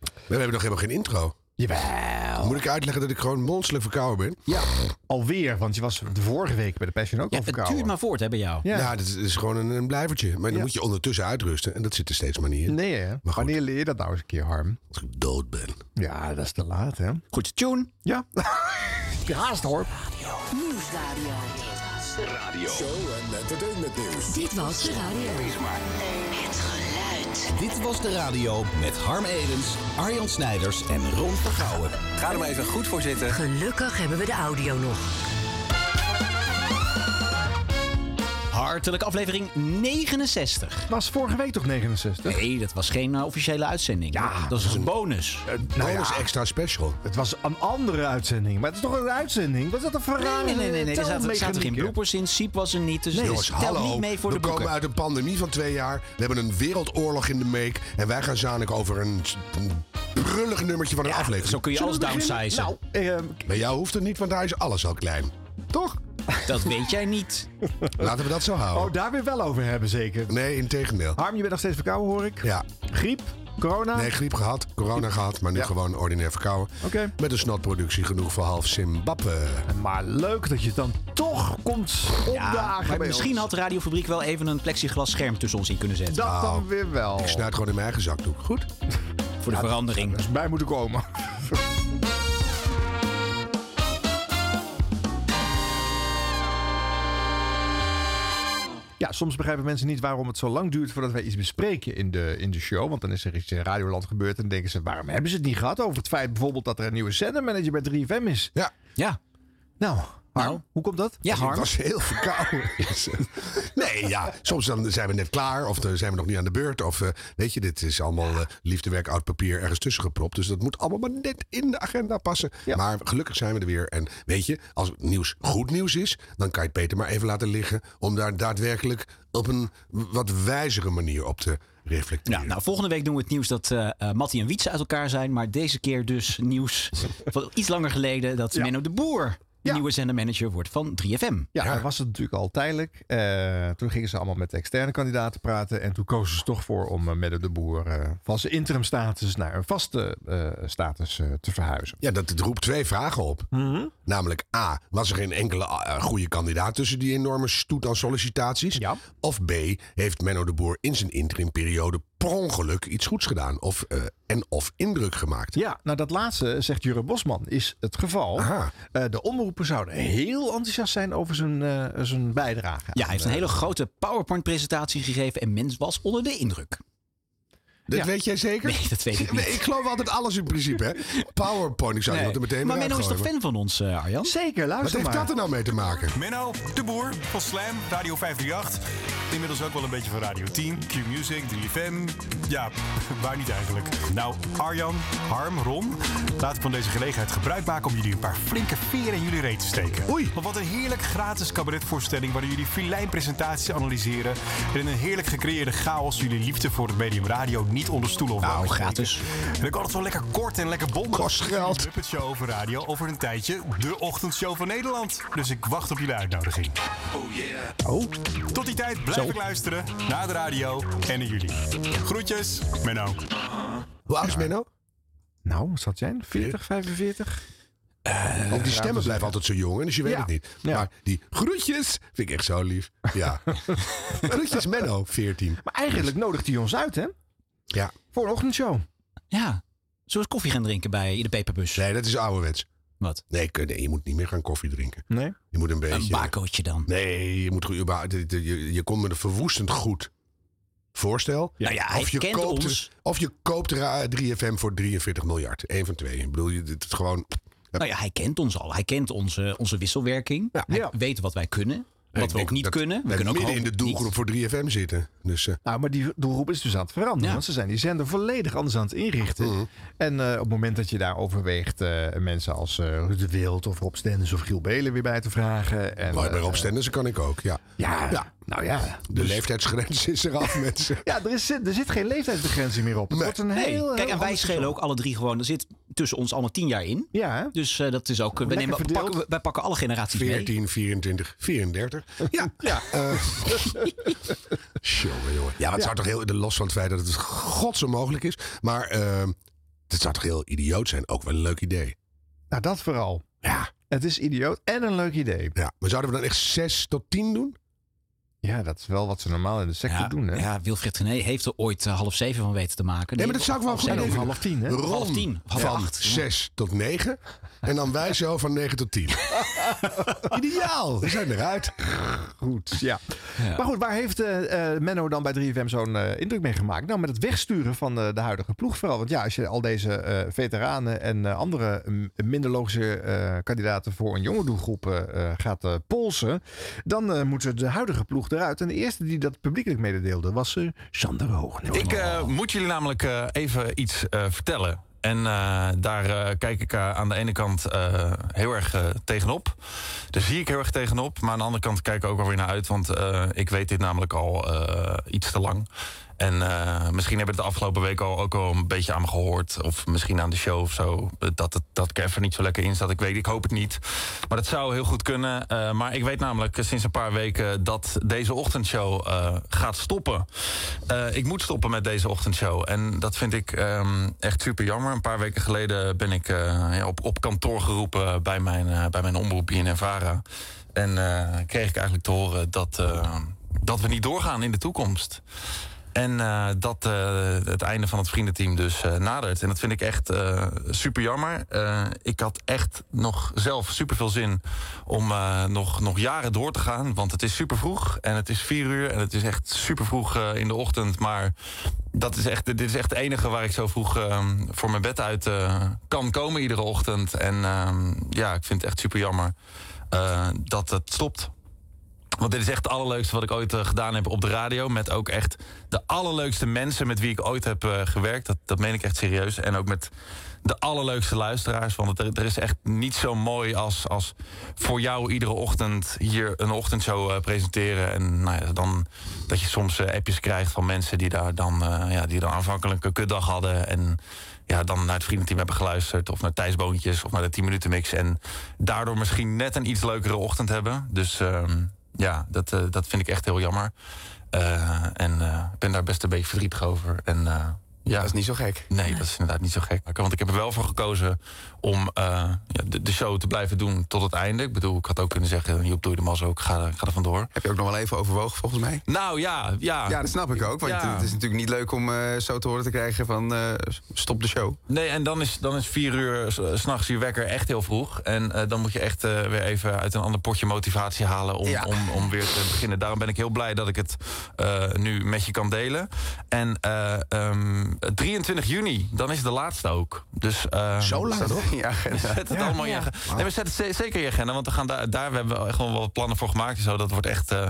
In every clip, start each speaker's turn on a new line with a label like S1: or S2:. S1: We hebben nog helemaal geen intro.
S2: Jawel.
S1: Moet ik uitleggen dat ik gewoon monsterlijk verkouden ben?
S2: Ja, alweer. Want je was de vorige week bij de Passion ook
S3: Ja, het
S2: al verkouden.
S3: duurt maar voort hè, bij jou.
S2: Ja.
S1: Ja, Nou, dat is, is gewoon een, een blijvertje. Maar dan
S2: Ja.
S1: moet je ondertussen uitrusten. En dat zit er steeds maar niet in.
S2: Nee hè?
S1: goed.
S2: Wanneer leer je dat nou eens een keer, Harm?
S1: Als ik dood ben.
S2: Ja, dat is te laat hè?
S3: Goed, tune.
S2: Ja. Heb je haast hoor.
S4: Nieuwsradio.
S5: Radio.
S4: Dit was de radio. Het geluid.
S5: Dit was de radio met Harm Edens, Arjan Snijders en Ron Vergouwen. Ga er maar even goed voor zitten.
S4: Gelukkig hebben we de audio nog.
S3: Hartelijk aflevering 69.
S2: Was vorige week toch 69?
S3: Nee, dat was geen eh, officiële uitzending.
S2: Ja,
S3: dat is een bonus.
S2: Nou
S1: Bonus
S2: ja,
S1: extra special.
S2: het was een andere uitzending. Maar het is toch een uitzending? Was dat een
S3: Nee,
S2: verrassing?
S3: nee, nee, nee, nee. Er zaten, er zaten geen bloopers in. Siep was er niet. Dus nee,
S1: Jongens,
S3: tel
S1: hallo.
S3: niet mee voor
S1: we
S3: de boeken.
S1: komen uit een pandemie van twee jaar. We hebben een wereldoorlog in de make. En wij gaan zanik over een, s- een brullig nummertje van een aflevering.
S3: Zo kun je alles downsizen.
S2: Nou, ehm,
S1: Bij jou hoeft het niet, want daar is alles al klein.
S2: toch?
S3: Dat weet jij niet.
S1: Laten we dat zo houden.
S2: Oh, daar weer wel over hebben zeker.
S1: Nee, in tegendeel.
S2: Harm, je bent nog steeds verkouden hoor ik.
S1: Ja.
S2: Griep? Corona?
S1: Nee, griep gehad, corona gehad, maar nu
S2: Ja.
S1: gewoon ordinair verkouden.
S2: Oké.
S1: Met een snotproductie genoeg voor half Zimbabwe.
S2: Maar leuk dat je het dan toch komt opdagen
S3: maar
S2: bij
S3: misschien
S2: ons.
S3: had de radiofabriek wel even een plexiglas scherm tussen ons in kunnen zetten.
S2: Dat dan weer wel.
S1: Ik snuit gewoon in mijn eigen zakdoek. Goed?
S3: voor de verandering.
S1: Dus
S2: Bij moeten komen. Ja, soms begrijpen mensen niet waarom het zo lang duurt voordat wij iets bespreken in de, in de show. Want dan is er iets in Radioland gebeurd en denken ze, waarom hebben ze het niet gehad over het feit bijvoorbeeld dat er een nieuwe zendermanager bij 3FM is?
S1: Ja.
S3: Ja,
S2: Nou, Harm,
S3: Nou.
S2: hoe komt dat?
S3: ja
S1: Ik
S3: Harm.
S1: was heel verkouden. nee, ja. Soms dan zijn we net klaar of dan zijn we nog niet aan de beurt. Of eh, weet je, dit is allemaal eh, liefdewerk oud papier ergens tussen gepropt. Dus dat moet allemaal maar net in de agenda passen.
S2: Ja.
S1: Maar gelukkig zijn we er weer. En weet je, als het nieuws goed nieuws is, dan kan je het beter maar even laten liggen. Om daar daadwerkelijk op een wat wijzere manier op te reflecteren.
S3: Nou, nou, volgende week doen we het nieuws dat eh eh, Mattie en Wietse uit elkaar zijn. Maar deze keer dus nieuws van iets langer geleden dat Menno de Boer de
S2: Ja.
S3: nieuwe zendermanager wordt van 3FM.
S2: Ja, dat was het natuurlijk al tijdelijk. Eh, toen gingen ze allemaal met de externe kandidaten praten. En toen kozen ze toch voor om eh, Menno de Boer eh, van zijn interimstatus naar een vaste eh, status eh, te verhuizen.
S1: Ja, dat het roept twee vragen op. Namelijk A, was er geen enkele eh, goede kandidaat tussen die enorme stoet aan sollicitaties?
S2: Ja.
S1: Of B, heeft Menno de Boer in zijn interimperiode per ongeluk iets goeds gedaan? Of, eh, en of indruk gemaakt?
S2: Ja, nou dat laatste, zegt Jure Bosman, is het geval.
S1: Aha.
S2: Eh, de omroepen zouden heel enthousiast zijn over zijn, eh, zijn bijdrage.
S3: Ja, hij heeft een
S1: eh,
S3: hele grote PowerPoint-presentatie gegeven en mens was onder de indruk.
S1: Dat
S2: Ja.
S1: weet jij zeker?
S3: Nee, dat weet ik niet.
S1: Ik geloof altijd alles in principe, hè? PowerPoint, ik zou
S3: Nee.
S1: dat er meteen
S3: maar
S1: weer
S3: Menno is toch
S1: uitgooien,
S3: fan van ons, eh, Arjan?
S2: Zeker,
S1: maar- Wat
S2: luister
S1: heeft
S2: maar.
S1: dat er nou mee te maken?
S6: Menno, de boer van Slam, Radio 538. Inmiddels ook wel een beetje van Radio 10, Q-Music, 3FM. Ja, waar niet eigenlijk. Nou, Arjan, Harm, Ron, laten we van deze gelegenheid gebruik maken om jullie een paar flinke veren in jullie reet te steken.
S1: Oei.
S6: Want wat een heerlijk gratis cabaretvoorstelling waarin jullie filijnpresentaties analyseren. En in een heerlijk gecreëerde chaos jullie liefde voor het medium radio niet onder stoelen of
S3: Nou,
S6: banken steken.
S3: gratis.
S6: En dan kan het wel lekker kort en lekker bondig.
S1: Kost geld.
S6: De Muppet Show over radio over een tijdje de ochtendshow van Nederland. Dus ik wacht op jullie uitnodiging.
S2: Oh,
S6: Tot die tijd blijf ik luisteren naar de radio en naar jullie. Groetjes, Menno.
S1: Hoe oud is Menno?
S2: nou, wat zal het zijn? 40, 45?
S3: Eh,
S1: Ook Eh, die stemmen blijven altijd zo jong, hè, dus je weet
S2: Ja.
S1: het niet.
S2: Ja.
S1: Maar die groetjes vind ik echt zo lief. Ja. groetjes Menno, 14.
S2: Maar eigenlijk nodigt hij ons uit, hè?
S1: Ja.
S2: Voor een ochtendshow.
S3: Ja. Zullen we eens koffie gaan drinken bij in de peperbus?
S1: Nee, dat is ouderwets.
S3: Wat?
S1: Nee, kun- nee, je moet niet meer gaan koffie drinken.
S2: Nee.
S1: Je moet een
S3: Een
S1: beetje.
S3: bakootje dan.
S1: nee, je moet gewoon- je, je, je komt met een verwoestend goed voorstel.
S3: Nou ja, hij
S1: of je
S3: kent
S1: koopt,
S3: ons.
S1: Of je koopt ra- 3FM voor 43 miljard. Eén van twee. Ik bedoel, je, dit is gewoon.
S3: Nou ja, hij kent ons al. Hij kent onze, onze wisselwerking. Hij
S2: Ja.
S3: weet wat wij kunnen. Wat
S1: Ik
S3: we
S1: denk
S3: ook niet
S1: dat
S3: kunnen. We
S1: wij
S3: kunnen ook
S1: midden in de
S3: hoop
S1: doelgroep
S3: niet.
S1: voor 3FM zitten. Dus eh,
S2: Nou, maar die doelgroep is dus aan het veranderen.
S3: Ja.
S2: Want ze zijn die zender volledig anders aan het inrichten.
S1: Mhm.
S2: En eh, op het moment dat je daar overweegt eh, mensen als eh Ruud de Wild of Rob Stenders of Giel Belen weer bij te vragen. En,
S1: maar bij
S2: eh,
S1: Rob Stenders kan ik ook. Ja.
S2: ja, nou ja.
S1: De leeftijdsgrens is eraf, mensen.
S2: Ja, er, is, er zit geen leeftijdsbegrenzing meer op. Het
S1: Nee.
S2: wordt een
S3: Nee.
S2: heel, heel
S3: Kijk, en wij
S2: ander
S3: schelen
S2: seizoen.
S3: ook alle drie gewoon. Er zit tussen ons allemaal tien jaar in.
S2: Ja, hè?
S3: Dus eh, dat is ook. eh, We
S2: Lekker
S3: nemen, we
S2: verdeeld.
S3: pakken, we- wij pakken alle generaties mee.
S1: 14, 24, 34. Ja. ja. jongen, jongen. Ja, het zou toch heel de los van het feit dat het gods onmogelijk is. Maar eh, Dat zou toch heel idioot zijn? Ook wel een leuk idee.
S2: Nou, dat vooral.
S1: Ja.
S2: Het is idioot en een leuk idee.
S1: Ja, maar zouden we dan echt 6 tot 10 doen?
S2: Ja, dat is wel wat ze normaal in de sector
S3: Ja,
S2: doen. Hè?
S3: ja, Wilfried Gené heeft er ooit eh, half zeven van weten te maken.
S1: Nee,
S3: Die-
S1: maar dat zou ik wel
S3: half
S1: goed
S2: En
S3: zeven.
S2: ook
S1: idee
S2: half tien, hè?
S1: Ron
S3: half tien, half
S1: van
S3: acht.
S1: 6 tot 9. En dan wij zo van 9 tot 10. Ideaal. We zijn eruit.
S2: Goed, ja. Maar goed, waar heeft eh, eh, Menno dan bij 3FM zo'n eh, indruk mee gemaakt? Nou, met het wegsturen van eh, de huidige ploeg vooral. Want ja, als je al deze eh, veteranen en eh, andere mm, minder logische eh, kandidaten voor een jonge doelgroep eh, eh, gaat eh, polsen, dan eh, moet ze de huidige ploeg eruit. En de eerste die dat publiekelijk mededeelde was eh Sander Hoognoot.
S7: Ik eh, moet jullie namelijk eh, even iets eh, vertellen. En eh, daar eh, kijk ik eh, aan de ene kant eh, heel erg eh, tegenop. Daar zie ik heel erg tegenop. Maar aan de andere kant kijk ik ook alweer naar uit. Want eh, ik weet dit namelijk al eh, iets te lang. En eh, misschien hebben we het de afgelopen week al ook al een beetje aan me gehoord. Of misschien aan de show of zo. eh, Dat, het, dat ik er even niet zo lekker in zat. Ik weet, ik hoop het niet. Maar dat zou heel goed kunnen. Eh, maar ik weet namelijk eh, sinds een paar weken dat deze ochtendshow eh, gaat stoppen. Eh, ik moet stoppen met deze ochtendshow. En dat vind ik ehm, echt super jammer. Een paar weken geleden ben ik eh, ja, op, op kantoor geroepen bij mijn, eh, bij mijn omroep BNNVARA. En eh, kreeg ik eigenlijk te horen dat, eh, dat we niet doorgaan in de toekomst. En eh, dat eh, het einde van het vriendenteam dus eh, nadert. En dat vind ik echt eh, super jammer. Eh, ik had echt nog zelf super veel zin om eh, nog, nog jaren door te gaan. Want het is super vroeg en het is vier uur en het is echt super vroeg eh, in de ochtend. Maar dat is echt, dit is echt het enige waar ik zo vroeg eh, voor mijn bed uit eh, kan komen iedere ochtend. En eh, ja, ik vind het echt super jammer eh, dat het stopt. Want dit is echt het allerleukste wat ik ooit eh, gedaan heb op de radio. Met ook echt de allerleukste mensen met wie ik ooit heb eh, gewerkt. Dat, dat meen ik echt serieus. En ook met de allerleukste luisteraars. Want het- er, er is echt niet zo mooi als, als voor jou iedere ochtend hier een ochtendshow eh, presenteren. En nou ja, dan dat je soms eh, appjes krijgt van mensen die daar dan, eh, ja, die dan aanvankelijk een kutdag hadden. En ja, dan naar het vriendenteam hebben geluisterd. Of naar Thijs Boontjes of naar de 10 minuten mix. En daardoor misschien net een iets leukere ochtend hebben. Dus ehm, ja, dat, eh, dat vind ik echt heel jammer. Eh, en eh, ik ben daar best een beetje verdrietig over. En, eh, ja.
S8: Dat is niet zo gek.
S7: Nee, dat is inderdaad niet zo gek. Want ik heb er wel voor gekozen om eh, ja, de, de show te blijven doen tot het einde. Ik bedoel, ik had ook kunnen zeggen, Joep, doe je de mas ook, ga, ga er vandoor.
S8: Heb je ook nog wel even overwogen, volgens mij?
S7: Nou ja, ja.
S8: Ja, dat snap ik ook. Want
S7: Ja.
S8: het is natuurlijk niet leuk om eh, zo te horen te krijgen van eh, stop de show.
S7: Nee, en dan is, dan is vier uur eh, s- s'nachts je wekker echt heel vroeg. En eh, dan moet je echt eh, weer even uit een ander potje motivatie halen om,
S8: Ja.
S7: om, om weer te beginnen. Daarom ben ik heel blij dat ik het eh, nu met je kan delen. En eh, ehm, 23 juni, dan is de laatste ook. Dus, eh,
S1: Zo laat, toch?
S8: Ja, agenda.
S7: Zet het allemaal in je agenda. Nee, maar zet het ze- zeker in je agenda. Want we gaan daar, daar we hebben we gewoon wel wat plannen voor gemaakt. en Zo, dat wordt echt eh,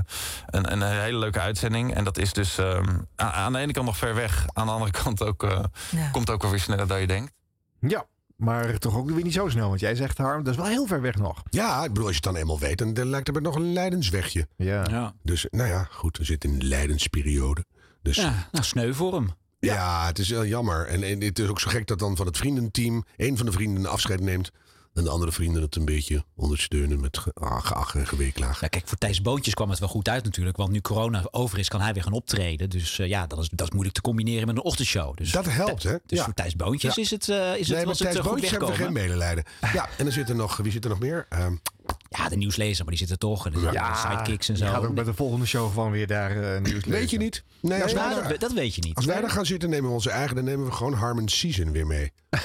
S7: een, een hele leuke uitzending. En dat is dus ehm, a- aan de ene kant nog ver weg. Aan de andere kant ook, eh,
S4: Ja.
S7: komt ook alweer sneller dan je denkt.
S2: Ja, maar toch ook weer niet zo snel. Want jij zegt, Harm, dat is wel heel ver weg nog.
S1: Ja, ik bedoel, als je het dan eenmaal weet, dan, dan lijkt het me nog een Leidenswegje.
S2: Ja.
S3: Ja.
S1: Dus nou ja, goed, we zitten in de Leidensperiode. Dus ja,
S3: ja, nou sneu voor hem.
S1: het is heel jammer. En, en het is ook zo gek dat dan van het vriendenteam... één van de vrienden afscheid neemt... en de andere vrienden het een beetje ondersteunen... met ge- ah, geach en geweeklaag.
S3: Ja, kijk, voor Thijs Boontjes kwam het wel goed uit natuurlijk. Want nu corona over is, kan hij weer gaan optreden. Dus eh, ja, dat is, dat is moeilijk te combineren met een ochtendshow. Dus,
S1: Dat helpt, hè?
S3: dus
S1: Ja.
S3: voor Thijs Boontjes
S1: Ja.
S3: is het, eh, is het,
S1: Nee, maar
S3: was het
S1: Thijs
S3: eh, goed
S1: Boontjes hebben we
S3: wegkomen.
S1: geen medelijden. Ja, en dan zit er nog... Wie zit er nog meer? Ehm,
S3: Ja, de nieuwslezer, maar die zitten toch. En de sidekicks en
S2: Je gaat
S3: zo.
S2: ook met de volgende show gewoon weer daar eh, nieuws
S1: weet je
S2: lezen.
S1: niet? Nee, als wij
S3: Nou,
S1: daar-
S3: dat, dat weet je niet.
S1: Als wij daar gaan zitten, nemen we onze eigen, dan nemen we gewoon Harmon Season weer mee. Want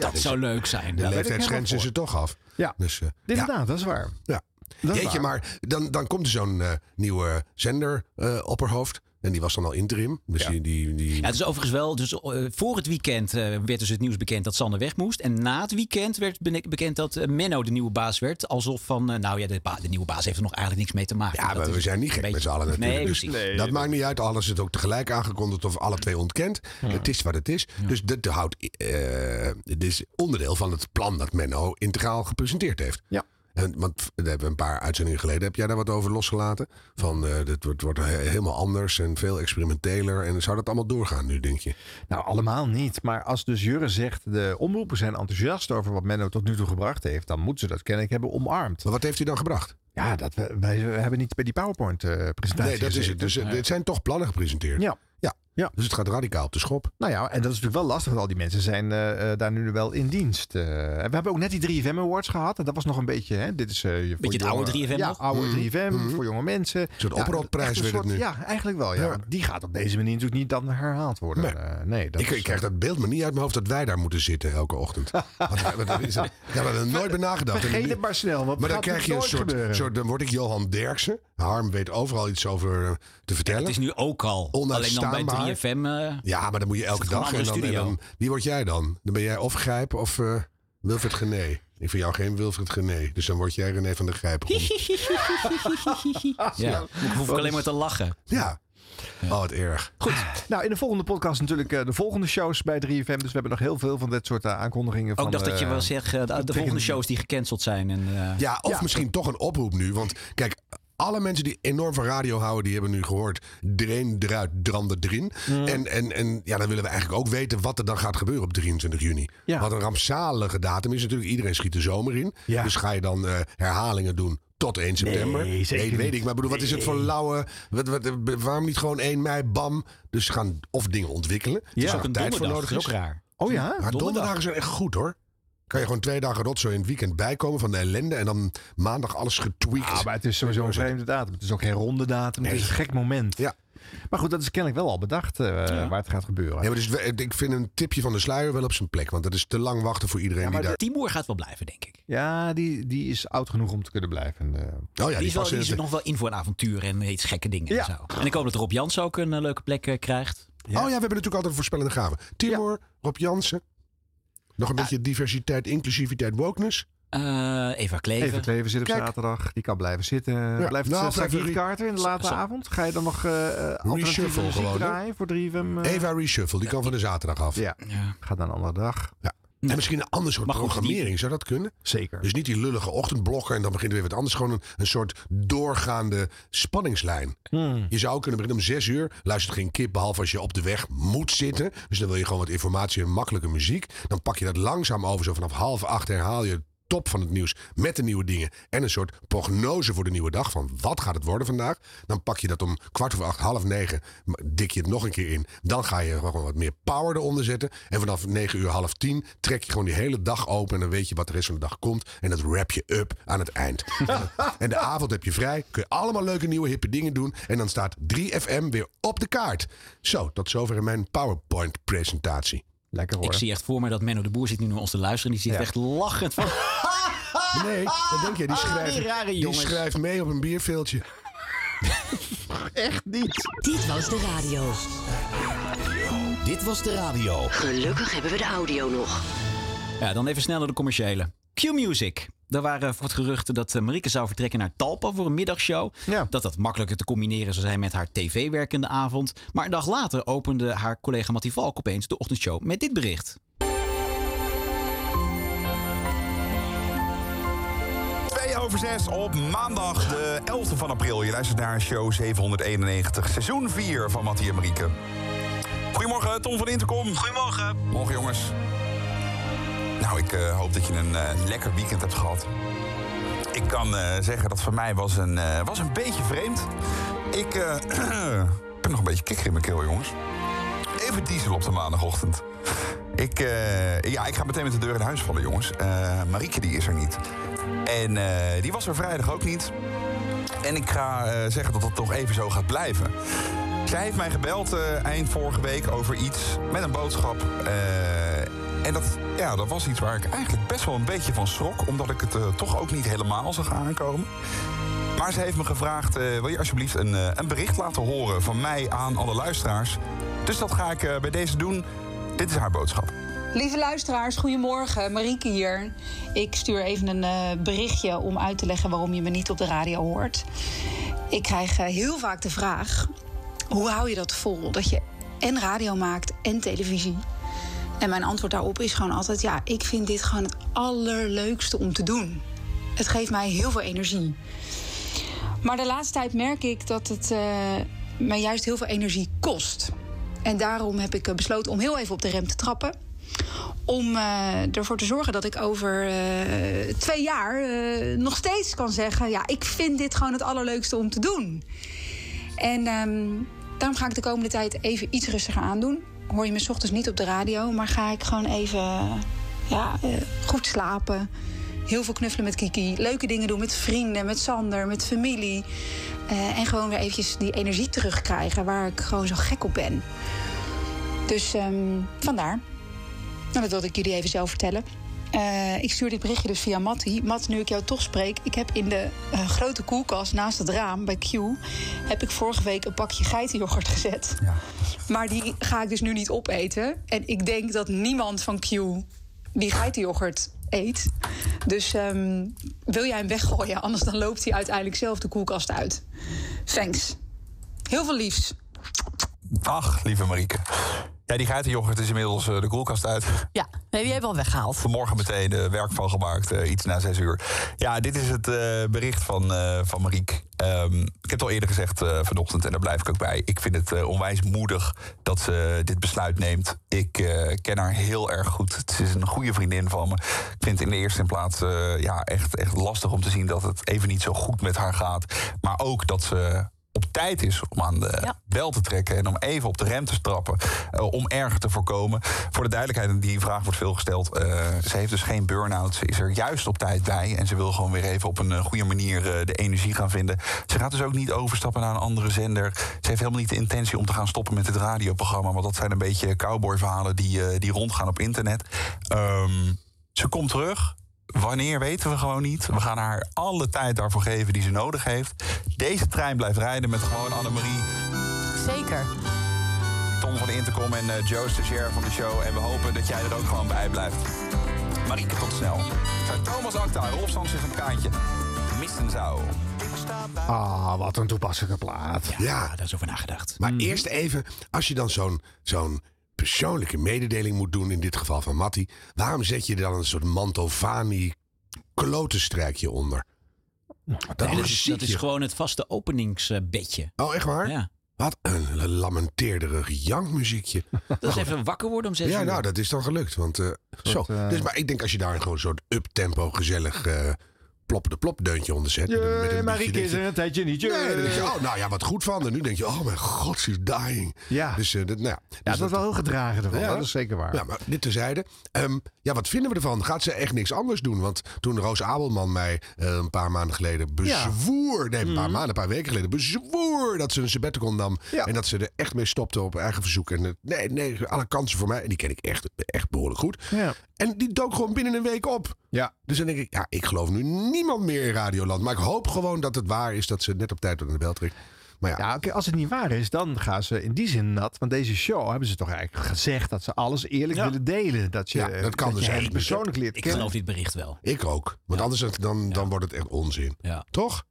S3: dat
S1: de-
S3: zou leuk zijn.
S1: De
S3: Ja.
S1: leeftijdsgrens is er toch af.
S2: Ja.
S1: Dus, eh,
S2: Dit
S1: ja.
S2: inderdaad, dat is waar.
S1: Ja.
S2: Dat is
S1: Jeetje,
S2: waar.
S1: maar dan, dan komt er zo'n eh, nieuwe zender eh, opperhoofd. En die was dan al interim. Dus die, die, die,
S3: Ja, het is overigens wel, dus eh, voor het weekend eh, werd dus het nieuws bekend dat Sander weg moest. En na het weekend werd bene- bekend dat eh, Menno de nieuwe baas werd. Alsof van, eh, nou ja, de, ba- de nieuwe baas heeft er nog eigenlijk niks mee te maken.
S1: Ja,
S3: Dat
S1: maar
S3: is
S1: we zijn niet
S3: een
S1: gek
S3: beetje-
S1: met z'n allen natuurlijk.
S3: Nee,
S1: Dus
S3: precies.
S1: dat maakt niet uit. Alles is het ook tegelijk aangekondigd of alle twee ontkend. Het is wat het is. Dus dit, houdt, eh, dit is onderdeel van het plan dat Menno integraal gepresenteerd heeft.
S2: Ja.
S1: En, want we hebben we een paar uitzendingen geleden. Heb jij daar wat over losgelaten? Van eh dit wordt, wordt he- helemaal anders en veel experimenteler. En zou dat allemaal doorgaan nu, denk je?
S2: Nou, allemaal niet. Maar als dus Jurre zegt, de omroepen zijn enthousiast over wat Menno tot nu toe gebracht heeft, dan moeten ze dat kennelijk hebben omarmd.
S1: Maar wat heeft hij dan gebracht?
S2: Ja, dat we, wij hebben niet bij die PowerPoint-presentatie
S1: Dus, nee, dat is het. Dus eh, het zijn toch plannen gepresenteerd.
S2: Ja.
S1: eh, Ja,
S2: Ja.
S1: Dus het gaat radicaal op de schop.
S2: Nou ja, en dat is natuurlijk wel lastig, want al die mensen zijn eh, eh, daar nu wel in dienst. Eh, en we hebben ook net die 3FM Awards gehad. En dat was nog een beetje, hè, dit is... eh, voor
S3: Beetje het oude 3FM
S2: Ja,
S3: nog.
S2: oude 3FM voor jonge mensen. Een
S1: Mhm. soort oproepprijs werd het nu.
S2: Ja, eigenlijk wel, ja.
S1: Ja.
S2: Die gaat op deze manier natuurlijk niet dan herhaald worden.
S1: Nee.
S2: Eh, nee dat
S1: Ik,
S2: is-
S1: ik krijg dat beeld maar niet uit mijn hoofd dat wij daar moeten zitten elke ochtend. Wat- wat- wat is dat? Ik heb er nooit bij nagedacht. En
S2: Vergeet
S1: nu-
S2: het maar snel, want
S1: Maar dan
S2: het gaat
S1: krijg je een
S2: nooit
S1: soort,
S2: gebeuren.
S1: soort. Dan word ik Johan Derksen. Harm weet overal iets over eh, te vertellen.
S3: Het is nu ook al. Alleen dan bij
S1: Onuitstaanbaar.
S3: 3FM. eh,
S1: Ja, maar dan moet je elke
S3: is gewoon
S1: dag.
S3: een
S1: En
S3: andere
S1: dan, en
S3: studio.
S1: dan- wie word jij dan? Dan ben jij of Grijp of eh, Wilfred Gené. Ik vind jou geen Wilfred Gené. Dus dan word jij René van der Grijp.
S3: ja. Ik hoef ik alleen maar te lachen.
S1: Ja. Oh, wat erg.
S2: Nou, in de volgende podcast natuurlijk eh, de volgende shows bij 3FM. Dus we hebben nog heel veel van dit soort eh, aankondigingen.
S3: Ook
S2: van,
S3: dacht dat je
S2: eh,
S3: wel zegt, eh, de- de, volgende shows die gecanceld zijn. En, eh,
S1: Ja, of misschien toch een oproep nu. Want kijk, alle mensen die enorm van radio houden, die hebben nu gehoord. Dreen eruit, dranden erin.
S2: Mm.
S1: En, en, en ja, dan willen we eigenlijk ook weten wat er dan gaat gebeuren op 23 juni.
S2: Ja.
S1: Wat een rampzalige datum is natuurlijk. Iedereen schiet de zomer in.
S2: Ja.
S1: Dus ga je dan eh, herhalingen doen tot 1 september?
S2: Nee, zeker
S1: weet
S2: niet.
S1: ik. Maar ik bedoel, wat is het voor lauwe... Wat, wat, waarom niet gewoon 1 mei, bam? Dus ze gaan of dingen ontwikkelen.
S2: Ja.
S1: dus
S2: Ook
S1: er
S3: een
S1: tijd voor
S3: donderdag is
S1: nodig
S3: ook
S1: is.
S3: raar.
S2: Oh ja?
S1: Maar
S3: Donderdag.
S1: donderdagen zijn echt goed hoor. Kan je gewoon twee dagen rotzooi in het weekend bijkomen van de ellende. En dan maandag alles getweakt.
S2: Ah, maar het is sowieso een vreemde datum. Het is ook geen ronde datum. Het is een gek moment.
S1: Ja.
S2: Maar goed, dat is kennelijk wel al bedacht eh, waar het gaat gebeuren.
S1: Ja, maar dus, we- ik vind een tipje van de sluier wel op zijn plek. Want dat is te lang wachten voor iedereen die daar...
S3: Timur gaat wel blijven, denk ik.
S2: Ja, die, die is oud genoeg om te kunnen blijven. eh.
S1: Oh ja,
S3: Die is, wel,
S1: passen
S3: die is
S1: in
S3: er nog wel in voor een avontuur en iets gekke dingen
S2: Ja.
S3: en zo. En ik hoop dat Rob Jans ook een eh, leuke plek eh, krijgt.
S1: het- Oh ja, we hebben natuurlijk altijd een voorspellende gaven. Timor, Rob Jansen. Nog een beetje diversiteit, inclusiviteit, wokeness.
S3: Eh, Eva Kleven.
S2: Even Kleven zit op
S1: Kijk.
S2: zaterdag. Die kan blijven zitten. Blijft
S1: Nou,
S2: nou,
S1: blijft
S2: Sarah
S1: Rie-
S2: Carter in de late
S3: Sa-
S2: avond? Ga je dan nog eh alternatieve
S1: Reshuffle
S2: muziek
S1: gewoon, hè?
S2: draaien voor 3FM? eh?
S1: Eva Reshuffle, die kan van de zaterdag af.
S2: Ja,
S3: Ja.
S2: gaat naar een andere dag.
S1: En misschien een ander soort
S3: Maar goed, die-
S1: programmering, zou dat kunnen?
S2: Zeker.
S1: Dus niet die lullige ochtendblokken en dan begint er weer wat anders. Gewoon een, een soort doorgaande spanningslijn.
S2: Hmm.
S1: Je zou kunnen beginnen om zes uur. Luistert geen kip, behalve als je op de weg moet zitten. Dus dan wil je gewoon wat informatie en makkelijke muziek. Dan pak je dat langzaam over. Zo vanaf half acht herhaal je het top van het nieuws met de nieuwe dingen. En een soort prognose voor de nieuwe dag. Van wat gaat het worden vandaag? Dan pak je dat om kwart voor acht, half negen. m- Dik je het nog een keer in. Dan ga je gewoon wat meer power eronder zetten. En vanaf negen uur, half tien trek je gewoon die hele dag open. En dan weet je wat de rest van de dag komt. En dat wrap je up aan het eind. en de avond heb je vrij. Kun je allemaal leuke nieuwe hippe dingen doen. En dan staat 3FM weer op de kaart. Zo, tot zover in mijn PowerPoint presentatie.
S2: Lekker hoor.
S3: Ik zie echt voor me dat Menno de Boer zit nu naar ons te luisteren. En die zit echt lachend van...
S1: Nee, dat denk
S9: Ah,
S1: je. Die schrijft,
S3: Ah, die rare
S1: die
S3: jongens.
S1: schrijft mee op een bierveeltje.
S2: echt niet.
S4: Dit was de radio.
S10: Dit was de radio.
S4: Gelukkig hebben we de audio nog.
S3: Ja, dan even snel naar de commerciële. Q-Music. Daar waren voor het geruchten dat eh, Marieke zou vertrekken naar Talpa voor een middagshow.
S2: Ja.
S3: Dat dat makkelijker te combineren zou zijn met haar tv-werkende avond. Maar een dag later opende haar collega Mattie Valk opeens de ochtendshow met dit bericht.
S11: Twee over zes op maandag de 11e van april. Je luistert naar show 791, seizoen 4 van Mattie en Marieke. Goedemorgen, Tom van Intercom. Goedemorgen. Morgen, jongens. Nou, ik eh, hoop dat je een eh, lekker weekend hebt gehad. Ik kan eh, zeggen dat voor mij was een, eh, was een beetje vreemd. Ik eh, heb nog een beetje kikker in mijn keel, jongens. Even diesel op de maandagochtend. Ik, eh, ja, ik ga meteen met de deur in huis vallen, jongens. Eh Marieke die is er niet. En eh, die was er vrijdag ook niet. En ik ga eh, zeggen dat dat toch even zo gaat blijven. Zij heeft mij gebeld eh, eind vorige week over iets met een boodschap. eh, en dat, ja, dat was iets waar ik eigenlijk best wel een beetje van schrok. Omdat ik het eh, toch ook niet helemaal zag aankomen. Maar ze heeft me gevraagd, eh, wil je alsjeblieft een, eh, een bericht laten horen van mij aan alle luisteraars. Dus dat ga ik eh, bij deze doen. Dit is haar boodschap.
S12: Lieve luisteraars, goedemorgen. Marieke hier. Ik stuur even een eh, berichtje om uit te leggen waarom je me niet op de radio hoort. Ik krijg eh, heel vaak de vraag: hoe hou je dat vol? Dat je en radio maakt en televisie. En mijn antwoord daarop is gewoon altijd: ja, ik vind dit gewoon het allerleukste om te doen. Het geeft mij heel veel energie. Maar de laatste tijd merk ik dat het eh, mij juist heel veel energie kost. En daarom heb ik eh, besloten om heel even op de rem te trappen. Om eh, ervoor te zorgen dat ik over eh, twee jaar eh, nog steeds kan zeggen: Ja, ik vind dit gewoon het allerleukste om te doen. En ehm, Daarom ga ik de komende tijd even iets rustiger aandoen. Hoor je me 's ochtends niet op de radio, maar ga ik gewoon even ja, eh, goed slapen. Heel veel knuffelen met Kiki. Leuke dingen doen met vrienden, met Sander, met familie. Eh, en gewoon weer eventjes die energie terugkrijgen waar ik gewoon zo gek op ben. Dus ehm, vandaar. Nou, dat wilde ik jullie even zelf vertellen. Eh, ik stuur dit berichtje dus via Mattie. Matt, nu ik jou toch spreek, ik heb in de eh, grote koelkast naast het raam bij Q... heb ik vorige week een pakje geitenyoghurt gezet. Maar die ga ik dus nu niet opeten. En ik denk dat niemand van Q die geitenyoghurt eet. Dus ehm, wil jij hem weggooien, anders dan loopt hij uiteindelijk zelf de koelkast uit. Thanks. Heel veel liefs.
S11: Ach, lieve Marieke. Ja, die geitenjoghurt is inmiddels eh, de koelkast uit.
S9: Ja, nee, die hebben we al weggehaald.
S11: Vanmorgen meteen eh, werk van gemaakt, eh, iets na zes uur. Ja, dit is het eh, bericht van, eh van Marieke. Ehm, ik heb het al eerder gezegd eh, vanochtend en daar blijf ik ook bij. Ik vind het eh, onwijs moedig dat ze dit besluit neemt. Ik eh, ken haar heel erg goed. Het is een goede vriendin van me. Ik vind het in de eerste plaats eh, ja, echt, echt lastig om te zien dat het even niet zo goed met haar gaat. Maar ook dat ze op tijd is om aan de bel te trekken en om even op de rem te strappen. eh, om erger te voorkomen. Voor de duidelijkheid, en die vraag wordt veel gesteld. eh, ze heeft dus geen burn-out. Ze is er juist op tijd bij. En ze wil gewoon weer even op een eh, goede manier eh, de energie gaan vinden. Ze gaat dus ook niet overstappen naar een andere zender. Ze heeft helemaal niet de intentie om te gaan stoppen met het radioprogramma. Want dat zijn een beetje cowboyverhalen die, eh, die rondgaan op internet. Ehm, ze komt terug. Wanneer weten we gewoon niet. We gaan haar alle tijd daarvoor geven die ze nodig heeft. Deze trein blijft rijden met gewoon Annemarie,
S9: Zeker.
S11: Ton van de Intercom en eh, Joe Stagiair van de show. En we hopen dat jij er ook gewoon bij blijft. Marieke, tot snel. Zijn Thomas Acta, Rolf Sanchez en Kaantje. Missen zou.
S2: Ah, wat een toepasselijke plaat.
S1: Ja, daar is over nagedacht.
S3: Mhm.
S1: Maar eerst even, als je dan zo'n zo'n persoonlijke mededeling moet doen, in dit geval van Matti, waarom zet je er dan een soort Mantovani klotenstrijkje onder?
S3: Nee, dat, is,
S1: muziekje.
S3: dat is gewoon het vaste openingsbedje.
S1: Oh, echt waar?
S3: Ja.
S1: Wat een lamenteerderig jankmuziekje.
S3: Dat is even wakker worden om zes
S1: Oh. Ja,
S3: uur.
S1: nou, dat is dan gelukt. Want, eh, zo.
S3: eh,
S1: Dus, maar ik denk als je daar gewoon een soort uptempo gezellig eh plop de plop deuntje onder zet. met een- met een
S2: Marieke
S1: liedje,
S2: is er een tijdje niet.
S1: denk je- Nee, dan denk je,
S2: Jee.
S1: oh, nou ja, wat goed van. En nu denk je, oh mijn god, she's dying.
S2: Ja.
S1: Dus eh, dat, nou ja. Dus
S2: dat wordt wel heel gedragen ervan, hoor. Dat is zeker waar.
S1: Ja, maar dit terzijde. Ehm, ja, wat vinden we ervan? Gaat ze echt niks anders doen? Want toen Roos Abelman mij eh, een paar maanden geleden bezwoer... Nee, een paar maanden, een paar weken geleden bezwoer... dat ze een sabbatical nam en dat ze er echt mee stopte op eigen verzoek. En eh, nee, nee, alle kansen voor mij. En die ken ik echt, echt behoorlijk goed. En die dook gewoon binnen een week op.
S2: Ja.
S1: Dus dan denk ik, ja, ik geloof nu niemand meer in Radioland. Maar ik hoop gewoon dat het waar is dat ze net op tijd door de bel trekt. Maar ja,
S2: oké, als het niet waar is, dan gaan ze in die zin nat. Want deze show hebben ze toch eigenlijk gezegd dat ze alles eerlijk willen delen. Dat, je,
S1: Ja, dat kan
S2: je
S1: dus
S2: hen
S1: eigenlijk niet, hè?
S2: persoonlijk leert
S1: Ik
S2: kennen.
S1: geloof
S3: dit bericht wel.
S1: Ik ook. Want anders dan, dan, dan wordt het echt onzin.
S3: Ja.
S1: Toch?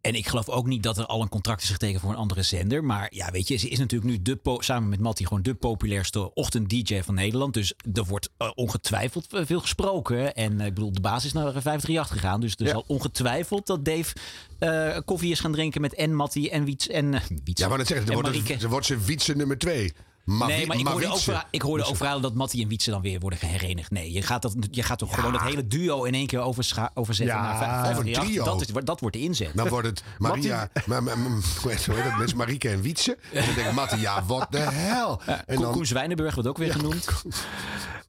S3: En ik geloof ook niet dat er al een contract is getekend voor een andere zender. Maar ja, weet je, ze is natuurlijk nu de po- samen met Mattie gewoon de populairste ochtend-DJ van Nederland. Dus er wordt eh, ongetwijfeld eh, veel gesproken. En eh, ik bedoel, de baas is naar eh, 538 gegaan. Dus er zal ongetwijfeld dat Dave eh, koffie is gaan drinken met en Mattie en Wiets. En, eh, Wiets
S1: Ja, maar dat zegt,
S3: en
S1: dan wordt,
S3: Marieke.
S1: het, dan wordt ze wietsen nummer twee. Maar
S3: nee,
S1: wie-
S3: maar ik hoorde, ook,
S1: wietsen.
S3: verha- ik hoorde
S1: Dus-
S3: ook verhalen dat Mattie en Wietse dan weer worden geherenigd. Nee, je gaat, dat, je gaat toch gewoon dat hele duo in één keer overscha- overzetten
S1: Ja,
S3: naar vijf-
S1: of een
S3: 538.
S1: trio.
S3: Dat, is, dat wordt de inzet.
S1: Dan wordt het Maria, maar, maar, maar, hoe heet hoe heet dat? Mensen Marieke en Wietse. En dan denk ik, Matti, ja, wat de hel. En dan,
S3: Koen Zwijnenburg wordt ook weer genoemd.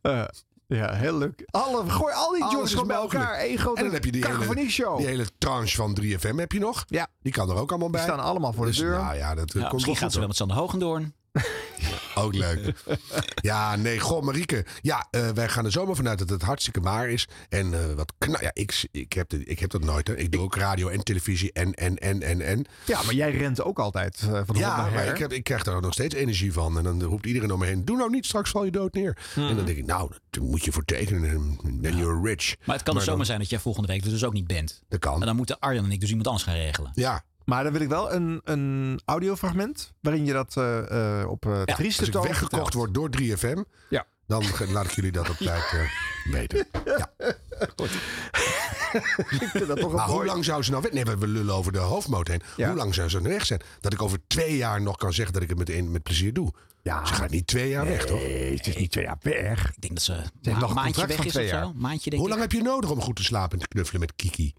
S2: Eh, ja, heel leuk. Alle, gooi al die
S1: Alles
S2: jongens
S1: is
S2: gewoon bij
S1: mogelijk.
S2: elkaar. Eén grote
S1: En dan heb je die hele,
S2: show.
S1: die hele tranche van 3FM heb je nog.
S2: Ja.
S1: Die kan er ook allemaal bij.
S2: Die staan allemaal voor de
S1: Dus,
S2: deur.
S1: Nou ja, dat eh,
S3: Ja,
S1: komt
S3: misschien
S1: wel
S3: gaat ze wel
S1: goed
S3: met Sander Hoogendoorn.
S1: hoor. Ook leuk. Ja, nee, goh, Marieke. Ja, eh, wij gaan er zomaar vanuit dat het hartstikke waar is. En eh, wat knap. Ja, ik, ik, heb dit, ik heb dat nooit. Hè. Ik doe ook radio en televisie en, en, en, en, en.
S2: Ja, maar jij rent ook altijd eh, van de hond
S1: Ja,
S2: naar
S1: maar
S2: her.
S1: ik, heb, ik krijg daar ook nog steeds energie van. En dan roept iedereen om me heen: Doe nou niet, straks val je dood neer.
S3: Hmm.
S1: En dan denk ik: Nou, daar moet je voor tekenen. en Then you're rich.
S3: Maar het kan dus zomaar zijn dat jij volgende week er dus ook niet bent.
S1: Dat kan.
S3: En dan moeten Arjan en ik dus iemand anders gaan regelen.
S1: Ja.
S2: Maar dan wil ik wel een, een audiofragment waarin je dat eh, eh, op eh trieste
S1: Als ik
S2: toon
S1: weggekocht word
S2: vertelt.
S1: door 3FM,
S2: Ja.
S1: dan ge- laat ik jullie dat op tijd eh, weten. Ja.
S2: dat toch een
S1: maar hoe
S2: mooi-
S1: lang zou ze nou weg? Nee, we we lullen over de hoofdmoot heen.
S2: Ja.
S1: Hoe lang zou ze nou weg zijn? Dat ik over twee jaar nog kan zeggen dat ik het met, een- met plezier doe. Ze gaat niet twee jaar weg, toch?
S2: Nee, het is niet twee jaar weg.
S3: Ik denk dat ze,
S2: heeft
S3: ma-
S2: nog een
S3: maandje
S2: contract
S3: weg
S2: van
S3: is
S2: twee
S3: of zo.
S2: jaar.
S3: Maandje denk
S1: Hoe
S3: ik.
S1: lang heb je nodig om goed te slapen en te knuffelen met Kiki?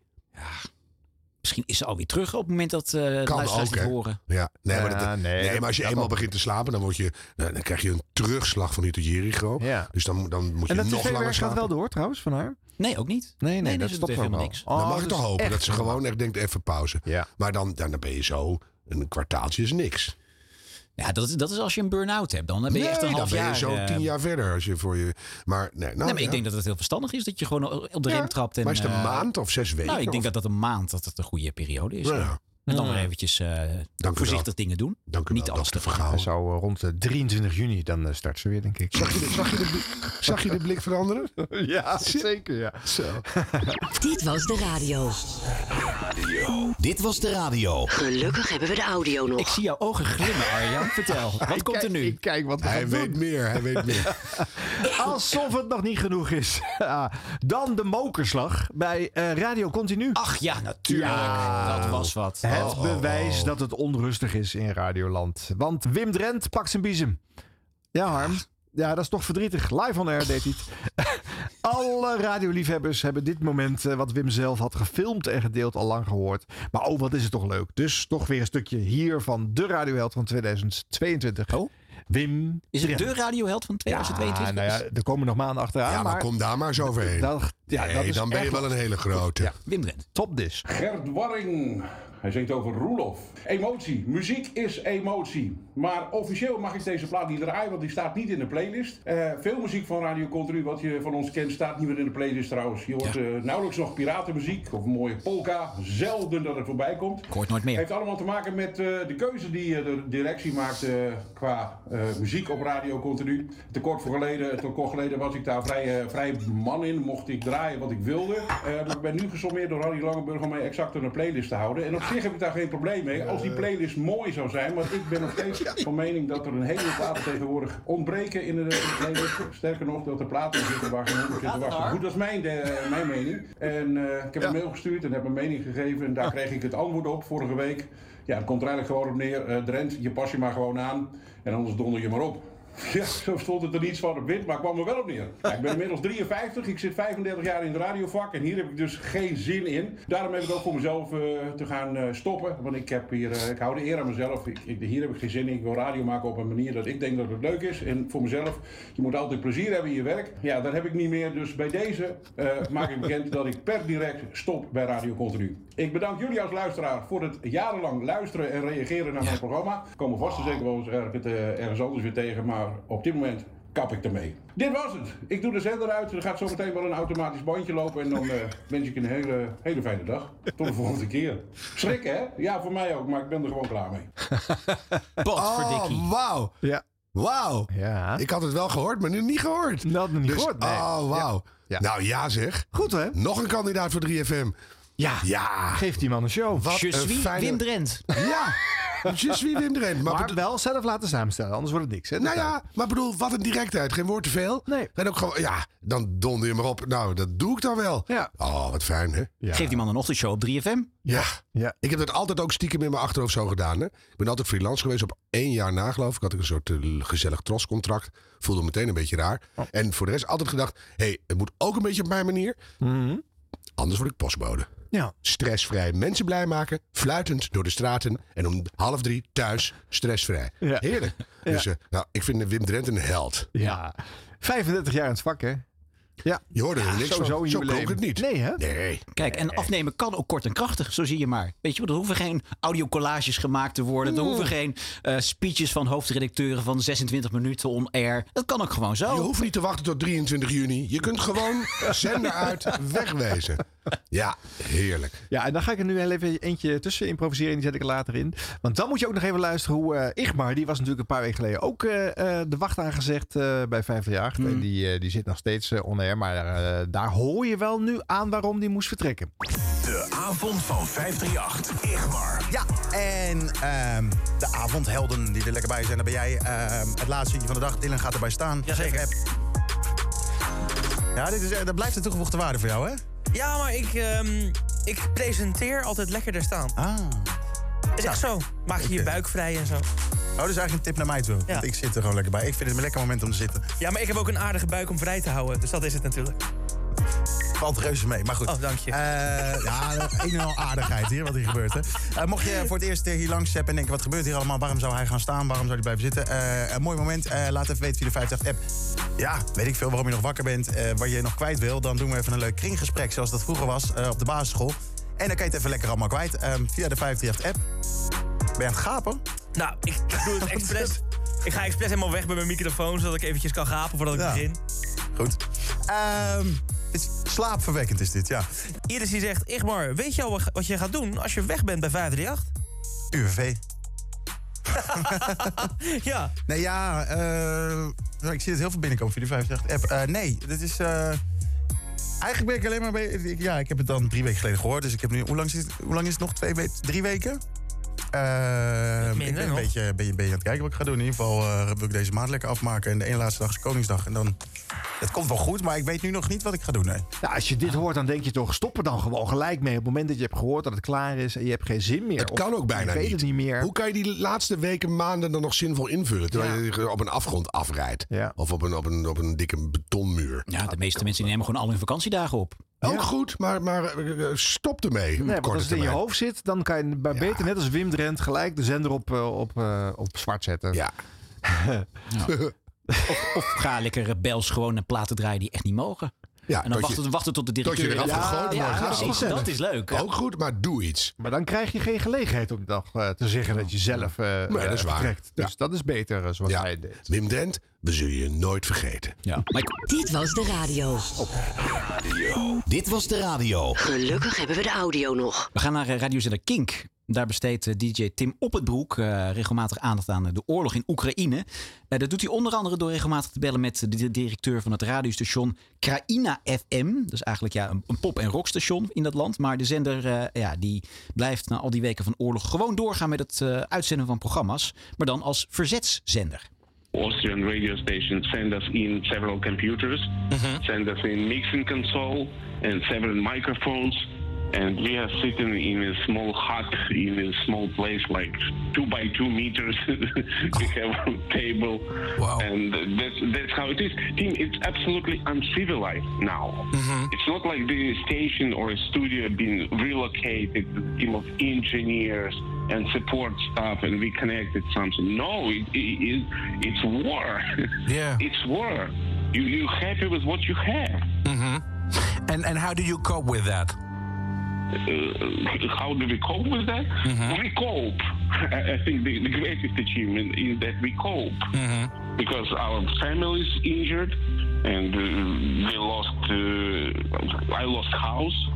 S3: Misschien is ze alweer terug op het moment dat eh de
S1: Kan
S3: luisteraars
S1: ook,
S3: dit
S1: hè?
S3: horen.
S1: Ja, nee, maar, dat-
S3: Ja, nee,
S1: nee,
S3: dat-
S1: maar als je
S3: dat
S1: eenmaal
S3: ook.
S1: begint te slapen, dan, word je, nou, dan krijg je een terugslag van Hito Jericho. Dus dan, dan moet je
S2: En dat
S1: nog langer
S2: tv-werk gaat
S1: slapen.
S2: wel door trouwens van haar?
S3: Nee, ook niet.
S2: Nee, nee,
S1: Nee,
S2: dat
S1: dus
S2: stopt
S1: het
S2: gewoon
S1: heeft
S2: wel.
S1: helemaal niks. dan mag ik toch hopen dat ze gewoon echt denkt even pauze. Maar dan, dan, dan ben je zo, een kwartaaltje is niks.
S3: Ja, dat, is- dat is als je een burn-out hebt. Dan ben je
S1: nee,
S3: echt een
S1: dan
S3: half
S1: ben je
S3: jaar...
S1: zo
S3: eh,
S1: tien jaar verder. Als je voor je, maar nee, nou,
S3: nee, maar
S1: ja.
S3: ik denk dat het heel verstandig is dat je gewoon op de
S1: Ja,
S3: rem trapt. En,
S1: maar is het een
S3: eh,
S1: maand of zes weken
S3: Nou, ik denk
S1: of-
S3: dat dat een maand dat het een goede periode is.
S1: Ja.
S3: ja. En dan
S1: Ja.
S3: weer eventjes eh,
S1: wel.
S3: voorzichtig dingen doen.
S1: Dank u
S3: Niet alles te
S2: En zo eh, rond eh, 23 juni, dan eh, start ze weer, denk ik.
S1: Zag je de, zag je de, blik- zag je de blik veranderen?
S2: ja, zeker, ja.
S1: Zo.
S4: Dit was de radio.
S5: Dit was de radio.
S4: Gelukkig hebben we de audio nog.
S3: Ik zie jouw ogen glimmen, Arjan. Vertel, wat komt er nu?
S2: Kijk wat we
S1: Hij
S2: gaan
S1: weet
S2: doen.
S1: meer, hij weet meer.
S2: Alsof het nog niet genoeg is. Ja, dan de mokerslag bij eh, Radio Continu.
S3: Ach ja, natuurlijk.
S2: Ja.
S3: Dat was wat.
S2: Het
S3: Oh, oh,
S2: bewijs dat het onrustig is in Radioland. Want Wim Drent pakt zijn biezem. Ja,
S1: Ah.
S2: Harm. Ja, dat is toch verdrietig. Live on air deed hij het. Alle radioliefhebbers hebben dit moment, eh, wat Wim zelf had gefilmd en gedeeld, al lang gehoord. Maar oh, wat is het toch leuk. Dus toch weer een stukje hier van de radioheld van 2022.
S3: Oh?
S2: Wim
S3: Is het
S2: Drent.
S3: de radioheld van 2022?
S2: Ja, nou ja, er komen nog maanden achteraan.
S1: Ja, maar kom daar maar eens overheen.
S2: Dat, ja,
S1: Nee,
S2: dat is
S1: dan ben je
S2: echt
S1: wel een hele grote.
S3: Wim Drent.
S2: Top dis.
S13: Gert Warring. Hij zingt over Roelof. Emotie. Muziek is emotie. Maar officieel mag ik deze plaat niet draaien, want die staat niet in de playlist. Eh, veel muziek van Radio Contru, wat je van ons kent, staat niet meer in de playlist trouwens. Je hoort eh, nauwelijks nog piratenmuziek of een mooie polka. Zelden dat het voorbij komt.
S3: Ik hoor het nooit meer.
S13: Heeft allemaal te maken met eh, de keuze die eh, de directie maakt eh, qua eh, muziek op radio continu. Te kort, voor geleden, te kort geleden was ik daar vrij, eh, vrij man in, mocht ik draaien wat ik wilde. Eh, maar ik ben nu gesommeerd door Harry Langenburg om mij exact in een playlist te houden. En op zich heb ik daar geen probleem mee, als die playlist mooi zou zijn. Want ik ben nog steeds van mening dat er een hele platen tegenwoordig ontbreken in de in de playlist. Sterker nog, dat er platen zitten waar geen honderd zitten wachten. Goed, dat is mijn, eh, mijn mening. En eh, ik heb een mail gestuurd en heb mijn mening gegeven. En daar kreeg ik het antwoord op vorige week. Ja, het komt er eigenlijk gewoon op neer. eh, Drent, je pas je maar gewoon aan. En anders donder je maar op. Ja, zo stond het er niets van op wit, maar kwam er wel op neer. Ja, ik ben inmiddels 53, ik zit 35 jaar in het radiovak en hier heb ik dus geen zin in. Daarom heb ik ook voor mezelf eh, te gaan eh, stoppen, want ik, heb hier, eh, ik hou de eer aan mezelf. Ik, ik- hier heb ik geen zin in, ik wil radio maken op een manier dat ik denk dat het leuk is. En voor mezelf, je moet altijd plezier hebben in je werk. Ja, dat heb ik niet meer, dus bij deze eh, maak ik bekend dat ik per direct stop bij Radio Continu. Ik bedank jullie als luisteraar voor het jarenlang luisteren en reageren naar mijn programma. Ik kom er vast en zeker wel eens ergens, eh, ergens anders weer tegen, maar op dit moment kap ik ermee. Dit was het. Ik doe de zender uit. Er gaat zo meteen wel een automatisch bandje lopen. En dan eh, wens ik een hele, hele fijne dag. Tot de volgende keer. Schrikken, hè? Ja, voor mij ook, maar ik ben er gewoon klaar mee.
S1: Oh, wauw.
S2: Ja.
S1: Wauw.
S2: Ja.
S1: Ik had het wel gehoord, maar nu niet gehoord.
S2: Dat niet
S1: Dus-
S2: gehoord, nee.
S1: Oh, wauw.
S2: Ja.
S1: Nou ja zeg.
S2: Goed hè?
S1: Nog een kandidaat voor 3FM.
S2: Ja.
S1: Ja.
S2: Geef die man een show.
S1: Wat
S3: Je
S1: een
S3: suis
S1: fijne...
S3: Wim Drent.
S1: Ja. Je suis Wim Drent. Maar,
S2: Maar,
S1: bedo-
S2: wel zelf laten samenstellen, anders wordt het niks. Hè?
S1: Nou ja, maar bedoel, wat een directheid. Geen woord te veel.
S2: Nee.
S1: En ook gewoon, ja, dan donder je maar op. Nou, dat doe ik dan wel.
S2: Ja.
S1: Oh, wat fijn, hè?
S2: Ja.
S3: Geef die man een ochtendshow op 3FM.
S1: Ja.
S2: Ja.
S1: Ik heb dat altijd ook stiekem in mijn achterhoofd zo gedaan. Hè? Ik ben altijd freelance geweest. Op één jaar na, geloof ik, had ik een soort eh, gezellig troscontract. Voelde me meteen een beetje raar.
S2: Oh.
S1: En voor de rest altijd gedacht, hé, hey, het moet ook een beetje op mijn manier. Anders word ik postbode.
S2: Mhm. Ja.
S1: Stressvrij mensen blij maken, fluitend door de straten. En om half drie thuis, stressvrij.
S2: Ja.
S1: Heerlijk. Dus eh, nou, ik vind eh, Wim Drent een held.
S2: Ja. 35 jaar in het vak, hè?
S1: Je hoorde er niks
S2: sowieso
S1: van.
S2: een
S1: Zo
S2: jubileum.
S1: klonk het niet.
S2: Nee, hè?
S1: Nee.
S3: Kijk, en afnemen kan ook kort en krachtig, zo zie je maar. Weet je, wel, er hoeven geen audiocollages gemaakt te worden.
S2: Mm.
S3: Er hoeven geen eh, speeches van hoofdredacteuren van 26 minuten on air. Dat kan ook gewoon
S1: Je
S3: zo.
S1: hoeft niet te wachten tot 23 juni. Je kunt gewoon zender uit wegwezen. Ja, heerlijk.
S2: Ja, en dan ga ik er nu heel even eentje tussen improviseren. Die zet ik er later in. Want dan moet je ook nog even luisteren hoe eh Igmar, die was natuurlijk een paar weken geleden ook eh, eh, de wacht aangezegd eh bij 538.
S1: Mm.
S2: En die, eh, die zit nog steeds eh, on air. Maar eh, daar hoor je wel nu aan waarom die moest vertrekken.
S5: De avond van 538. Igmar. Ja, en ehm, de avondhelden die er lekker bij zijn. Daar ben jij. ehm, het laatste uurtje van de dag. Dylan gaat erbij staan. Jazeker. Ja, dit is, eh, dat blijft een toegevoegde waarde voor jou, hè?
S14: Ja, maar ik, ehm, ik presenteer altijd lekkerder staan.
S5: Ah. Nou,
S14: Is echt zo. Maak je je buik vrij en zo.
S5: Oh, dat is eigenlijk een tip naar mij toe. Want ik zit er gewoon lekker bij. Ik vind het een lekker moment om te zitten.
S14: Ja, maar ik heb ook een aardige buik om vrij te houden. Dus dat is het natuurlijk. Valt reuze mee, maar goed. Eh,
S15: Oh, dank je.
S14: ja, een en al aardigheid hier, wat hier gebeurt. Hè. Eh, mocht je voor het eerst eh, hier langs hebben en denken, wat gebeurt hier allemaal? Waarom zou hij gaan staan? Waarom zou hij blijven zitten? Eh, een mooi moment. Eh, laat even weten via de 50 app. Ja, weet ik veel waarom je nog wakker bent. eh waar je nog kwijt wil. Dan doen we even een leuk kringgesprek, zoals dat vroeger was eh, op de basisschool. En dan kan je het even lekker allemaal kwijt. eh, via de 538 app. Ben je aan het gapen?
S15: Nou, ik doe het expres. Ik ga expres helemaal weg bij mijn microfoon, zodat ik eventjes kan gapen voordat ik
S14: Ja.
S15: begin. Nou.
S14: Goed. Ehm, het is slaapverwekkend is dit, ja.
S15: Iris die zegt, Igmar, weet je al wat- wat je gaat doen als je weg bent bij 538?
S14: UWV.
S15: ja.
S14: Nee, ja. eh, nou, ik zie het heel veel binnenkomen via die 538 app. Eh, nee, dit is... eh, eigenlijk ben ik alleen maar... Bij, ik- ja, ik heb het dan drie weken geleden gehoord. Dus ik heb nu... Hoe lang is het, hoe lang is het nog? Twee we- drie weken? Eh, ik ben een
S15: nog.
S14: beetje, ben, je- ben je aan het kijken wat ik ga doen. In ieder geval eh, wil ik deze maand lekker afmaken. En de ene laatste dag is Koningsdag. En dan... Het komt wel goed, maar ik weet nu nog niet wat ik ga doen. Nee.
S2: Ja, als je dit hoort, dan denk je toch, stop er dan gewoon gelijk mee. Op het moment dat je hebt gehoord dat het klaar is en je hebt geen zin meer.
S1: Het
S2: of
S1: kan ook bijna
S2: je weet het
S1: niet.
S2: niet meer.
S1: Hoe kan je die laatste weken, maanden dan nog zinvol invullen? Terwijl je op een afgrond afrijdt. Of op een, op, een, op een dikke betonmuur.
S3: Ja, de meeste mensen die nemen gewoon al hun vakantiedagen op.
S1: Ook goed, maar, maar eh, eh, stop ermee.
S2: Nee, want
S1: korte
S2: als het in je
S1: termijn.
S2: hoofd zit, dan kan je bij beter, net als Wim Drent, gelijk de zender op, eh, op, eh, op zwart zetten.
S1: Ja.
S3: Of, of ga lekker rebels gewoon een platen draaien die echt niet mogen.
S1: Ja,
S3: en dan
S1: dat je-
S3: wachten, wachten tot de
S1: Dat je
S3: directeur...
S1: eraf
S3: ja,
S1: gegooid
S3: ja,
S1: wordt. Ja,
S3: precies,
S1: goed.
S3: dat is leuk.
S1: Ook goed, maar doe iets.
S2: Maar dan krijg je geen gelegenheid om dag eh, te zeggen dat je zelf eh
S1: Nee, dat is
S2: eh,
S1: waar.
S2: vertrekt. Dus dat is beter eh, zoals hij deed.
S1: Wim Dent, we zullen je nooit vergeten.
S3: Ja.
S4: Dit was de radio.
S3: Dit was de radio.
S4: Gelukkig hebben we de audio nog.
S3: We gaan naar eh, radiozender Kink. Daar besteedt eh, DJ Tim Oppenbroek eh, regelmatig aandacht aan eh, de oorlog in Oekraïne. Eh, dat doet hij onder andere door regelmatig te bellen met eh, de directeur van het radiostation Kraïna FM. Dat is eigenlijk ja, een, een pop- en rockstation in dat land. Maar de zender eh, ja, die blijft na al die weken van oorlog gewoon doorgaan met het eh, uitzenden van programma's. Maar dan als verzetszender.
S16: Austrian radio stations send us in several computers, send us in mixing console and several microphones. And we are sitting in a small hut in a small place, like two by two meters. we have a table, and that's that's how it is. Tim, it's absolutely uncivilized now.
S17: Mm-hmm.
S16: It's not like the station or a studio being relocated, a team of engineers and support staff, and we connected something. No, it, it, it, it's war. Yeah. it's war. You, you happy with what you have.
S17: Mm-hmm. And and how do you cope with that?
S16: Uh, how do we cope with that? We cope. I, I think the, the greatest achievement is that we cope. because our families injured and uh, they lost uh, i lost house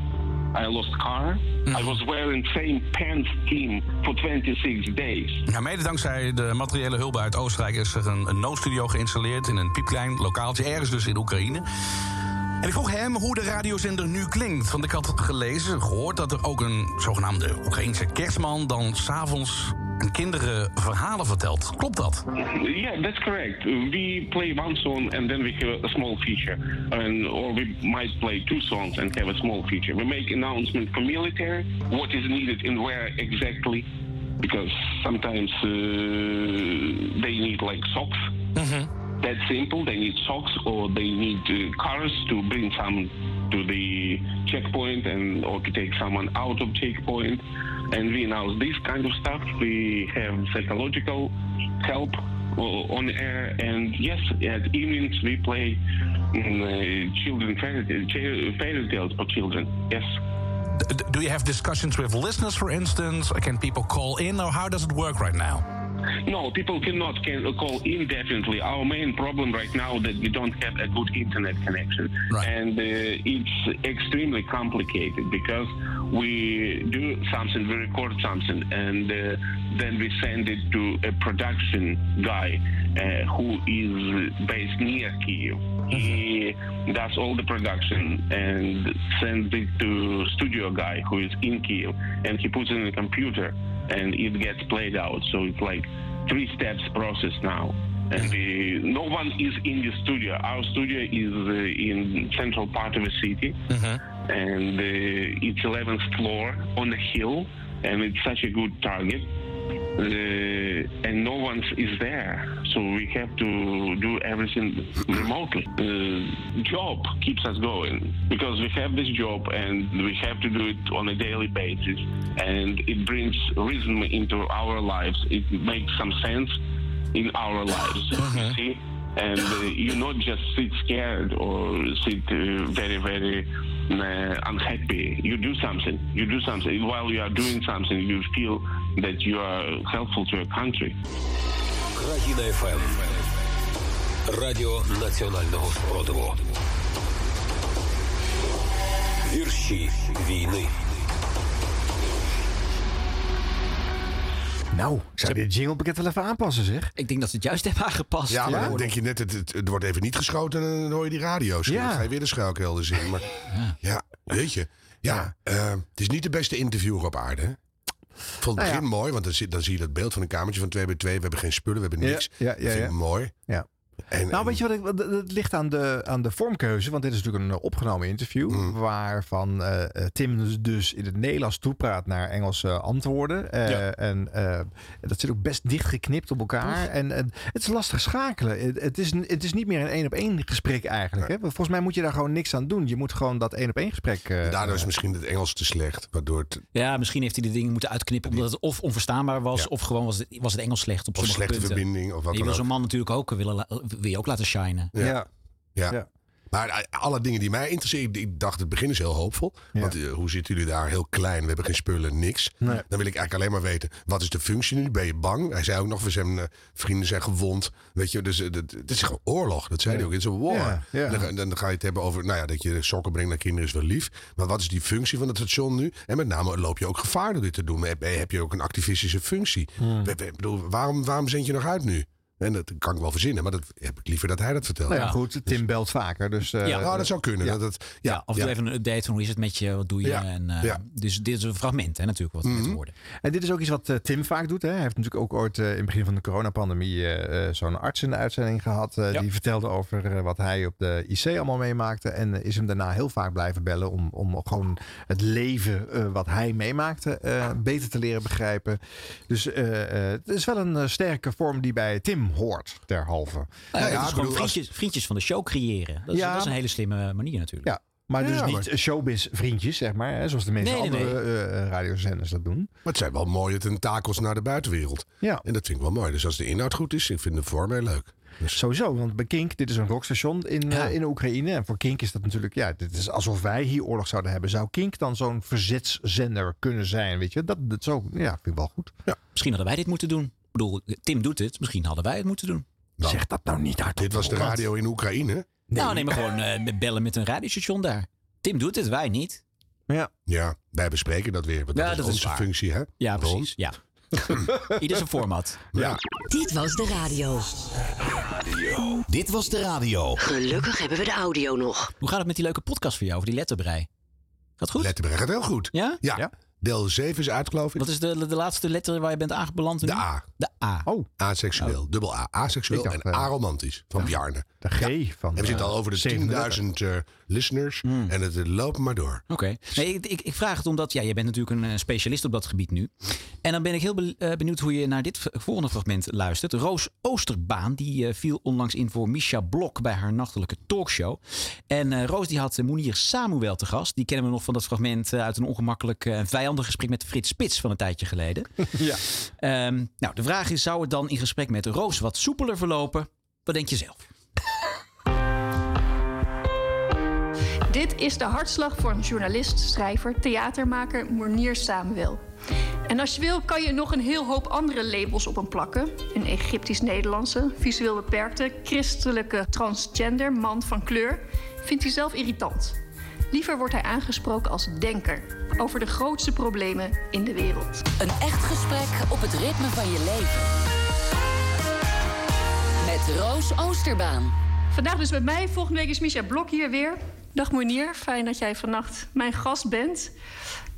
S16: i lost car i was wearing same pants team for 26 days
S18: Ja, Nou, mede dankzij de materiële hulp uit Oostenrijk is er een, een noodstudio geïnstalleerd in een piepklein lokaaltje, ergens dus in Oekraïne. En ik vroeg hem hoe de radiozender nu klinkt. Want ik had gelezen, gehoord dat er ook een zogenaamde Oekraïnse kerstman dan s'avonds aan kinderen verhalen vertelt. Klopt dat?
S16: Yeah, that's correct. We play one song and then we have a small feature, and or we might play two songs and have a small feature. We make announcement for military what is needed and where exactly, because sometimes uh, they need like socks. That simple. They need socks or they need uh, cars to bring some to the checkpoint and or to take someone out of checkpoint. And we announce this kind of stuff. We have psychological help o- on air. And yes, at evenings we play mm, uh, children fairy, tale- fairy tales for children. Yes.
S18: D- d- do you have discussions with listeners, for instance? Can people call in, or how does it work right now?
S16: No, people cannot can call indefinitely. Our main problem right now that we don't have a good internet connection, and uh, it's extremely complicated because we do something, we record something, and uh, then we send it to a production guy uh, who is based near Kiev. He does all the production and sends it to studio guy who is in Kiev, and he puts it in a computer and it gets played out. So it's like three steps process now. And uh, no one is in the studio. Our studio is uh, in central part of the city, and uh, it's 11th floor on a hill, and it's such a good target uh, and no one is there. So we have to do everything remotely. Uh, job keeps us going because we have this job and we have to do it on a daily basis, and it brings rhythm into our lives. It makes some sense in our lives. You see. And uh, you not just sit scared or sit uh, very, very uh, unhappy. You do something. You do something. While you are doing something, you feel that you are helpful to your country.
S15: Країна ФМ. Радіо національного спротиву. Вірші війни.
S2: Nou, ik zou dit jinglepakket wel even aanpassen, zeg.
S3: Ik denk dat ze het juist hebben aangepast. eh,
S1: Ja, maar dan denk je net, het, het, het wordt even niet geschoten en dan hoor je die radio's.
S3: Ja.
S1: Dan ga je weer de schuilkelders in. Maar ja, weet je. Ja, eh, het is niet de beste interviewer op aarde. hè? Ik vond het
S2: Nou ja.
S1: begin mooi, want dan, zit, dan zie je dat beeld van een kamertje van 2 bij 2 We hebben geen spullen, we hebben
S2: Ja,
S1: niks.
S2: ja, ja,
S1: dat vind
S2: ja.
S1: ik mooi.
S2: Ja.
S1: En,
S2: nou, weet je wat? Ik, wat- het ligt aan de, aan de vormkeuze. Want dit is natuurlijk een eh, opgenomen interview.
S1: Mm.
S2: Waarvan eh, eh, Tim dus- dus in het Nederlands toepraat naar Engelse antwoorden. Eh, En eh, dat zit ook best dicht geknipt op elkaar. En, en het is lastig schakelen. Het, het is, het is niet meer een één-op-één gesprek eigenlijk. Hè? Volgens mij moet je daar gewoon niks aan doen. Je moet gewoon dat één-op-één gesprek... eh,
S1: Daardoor is misschien het Engels te slecht, waardoor het
S3: Ja, misschien heeft hij de dingen moeten uitknippen omdat het of onverstaanbaar was, of gewoon was het, was het Engels slecht op
S1: Of
S3: sommige
S1: slechte
S3: punten.
S1: verbinding, of wat
S3: En je
S1: dan
S3: wil zo'n
S1: ook.
S3: man natuurlijk ook willen la- wil je ook laten shinen.
S1: Ja. Ja. Maar eh, alle dingen die mij interesseren, ik- ik dacht het begin is heel hoopvol. Want eh, hoe zitten jullie daar? Heel klein, we hebben geen spullen, niks.
S2: Nee.
S1: Dan wil ik eigenlijk alleen maar weten, wat is de functie nu? Ben je bang? Hij zei ook nog, we zijn eh, vrienden zijn gewond. Weet je, dus eh, dat- het is gewoon oorlog. Dat zei hij ook, het is een war.
S2: Ja, ja.
S1: En Dan, ga- dan ga je het hebben over, nou ja, dat je sokken brengt naar kinderen is wel lief. Maar wat is die functie van het station nu? En met name loop je ook gevaar door dit te doen. Heb, heb je ook een activistische functie?
S2: Hmm.
S1: We- we- Ik bedoel, waarom, waarom zend je nog uit nu? En dat kan ik wel verzinnen, maar dat heb ik liever dat hij dat vertelt.
S2: Nou ja, goed. Tim belt vaker. Dus, eh,
S1: Ja, nou, dat zou kunnen.
S2: ja.
S1: Dat, dat, ja,
S3: Ja, of doe
S1: ja.
S3: even een update van hoe is het met je, wat doe je.
S1: Ja.
S3: En, eh,
S1: Ja. Mhm.
S3: Dus dit is een fragment hè, natuurlijk wat we net hoorden.
S2: Mhm. En dit is ook iets wat eh, Tim vaak doet. Hè? Hij heeft natuurlijk ook ooit eh, in het begin van de coronapandemie eh, eh, zo'n arts in de uitzending gehad. eh, Die vertelde over eh, wat hij op de IC allemaal meemaakte. En eh, is hem daarna heel vaak blijven bellen om, om gewoon het leven eh, wat hij meemaakte eh, beter te leren begrijpen. Dus eh, eh, het is wel een eh, sterke vorm die bij Tim hoort, derhalve.
S3: Nou, ja, dus gewoon vriendjes, vriendjes van de show creëren. Dat is,
S2: Ja.
S3: dat is een hele slimme manier natuurlijk.
S2: Ja, maar dus
S3: Ja,
S2: niet
S3: maar-
S2: showbiz vriendjes, zeg maar. Hè, zoals de meeste
S3: Nee, nee,
S2: andere eh, eh, radiozenders dat doen.
S1: Maar het zijn wel mooie tentakels naar de buitenwereld.
S2: Ja.
S1: En dat vind ik wel mooi. Dus als de inhoud goed is, ik vind de vorm heel leuk. Dus-
S2: Sowieso, Oh, want bij Kink, dit is een rockstation in, eh, in Oekraïne. En voor Kink is dat natuurlijk, ja, dit is alsof wij hier oorlog zouden hebben. Zou Kink dan zo'n verzetszender kunnen zijn, weet je? Dat, dat zo, ja, vind ik wel goed.
S3: Misschien hadden wij dit moeten doen. Ik bedoel, Tim doet het. Misschien hadden wij het moeten doen.
S2: zeg dat nou niet hard.
S1: Dit was de radio in Oekraïne.
S3: Nou, nee, maar gewoon eh, met bellen met een radiostation daar. Tim doet het, wij niet.
S2: Ja.
S1: Ja, wij bespreken dat weer. Want
S3: Ja,
S1: dat is
S3: dat is
S1: onze
S3: waar.
S1: functie, hè?
S3: Ja, precies. Ja. Ieder zijn format.
S1: Ja.
S4: Dit was de radio.
S3: Dit was de radio.
S4: Gelukkig hebben we de audio nog.
S3: Hoe gaat het met die leuke podcast voor jou over die letterbrei? Gaat goed?
S1: Letterbrei gaat heel goed.
S3: Ja?
S1: Ja. Deel 7 is uit, geloof ik.
S3: Wat is de, de laatste letter waar je bent aangebeland? De
S1: A.
S3: De A.
S2: Oh.
S1: Aseksueel. Dubbel A. Aseksueel
S2: Ik dacht, eh,
S1: en aromantisch. Van Bjarne.
S2: De G van...
S1: En we zitten al over de 10.000 eh, listeners. En het eh, loopt maar door.
S3: Hmm. Oké. Nee, ik, ik, ik vraag het omdat, ja, jij bent natuurlijk een eh, specialist op dat gebied nu. En dan ben ik heel be- eh, benieuwd hoe je naar dit v- volgende fragment luistert. Roos Oosterbaan, die eh, viel onlangs in voor Misha Blok bij haar nachtelijke talkshow. En eh, Roos die had eh, Monier Samuel te gast. Die kennen we nog van dat fragment eh, uit een ongemakkelijk eh, en vijandig gesprek met Frits Spits van een tijdje geleden.
S2: ja.
S3: Ehm, nou, de vraag is, zou het dan in gesprek met Roos wat soepeler verlopen? Wat denk je zelf?
S19: Dit is de hartslag voor een journalist, schrijver, theatermaker Moernier Samuel. En als je wil, kan je nog een heel hoop andere labels op hem plakken. Een Egyptisch-Nederlandse, visueel beperkte, christelijke transgender man van kleur. Vindt hij zelf irritant. Liever wordt hij aangesproken als denker over de grootste problemen in de wereld.
S9: Een echt gesprek op het ritme van je leven.
S19: Met Roos Oosterbaan. Vandaag dus met mij. Volgende week is Misha Blok hier weer. Dag Monier, fijn dat jij vannacht mijn gast bent.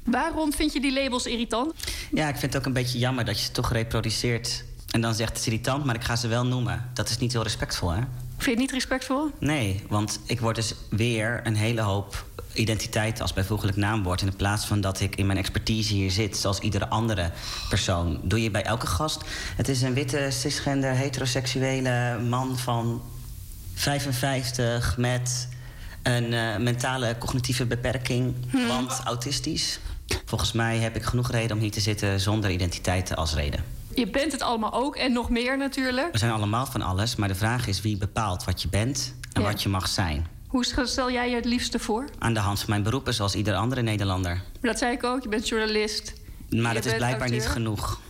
S19: Waarom vind je die labels irritant?
S20: Ja, ik vind het ook een beetje jammer dat je ze toch reproduceert. En dan zegt het is irritant, maar ik ga ze wel noemen. Dat is niet heel respectvol, hè?
S19: Vind je het niet respectvol?
S20: Nee, want ik word dus weer een hele hoop identiteit als bijvoeglijk naamwoord. In plaats van dat ik in mijn expertise hier zit, zoals iedere andere persoon. Doe je bij elke gast. Het is een witte, cisgender, heteroseksuele man van 55 met een eh, mentale cognitieve beperking, want autistisch. Volgens mij heb ik genoeg reden om hier te zitten zonder identiteiten als reden.
S19: Je bent het allemaal ook en nog meer natuurlijk.
S20: We zijn allemaal van alles, maar de vraag is wie bepaalt wat je bent en
S19: Ja.
S20: wat je mag zijn.
S19: Hoe stel jij je het liefste voor?
S20: Aan de hand van mijn beroepen, zoals ieder andere Nederlander.
S19: Dat zei ik ook, je bent journalist.
S20: Maar
S19: Je
S20: dat is
S19: bent
S20: blijkbaar
S19: acteur.
S20: niet genoeg.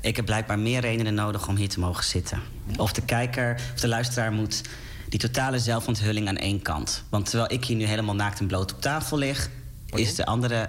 S20: Ik heb blijkbaar meer redenen nodig om hier te mogen zitten. Of de kijker of de luisteraar moet die totale zelfonthulling aan één kant. Want terwijl ik hier nu helemaal naakt en bloot op tafel lig, is de andere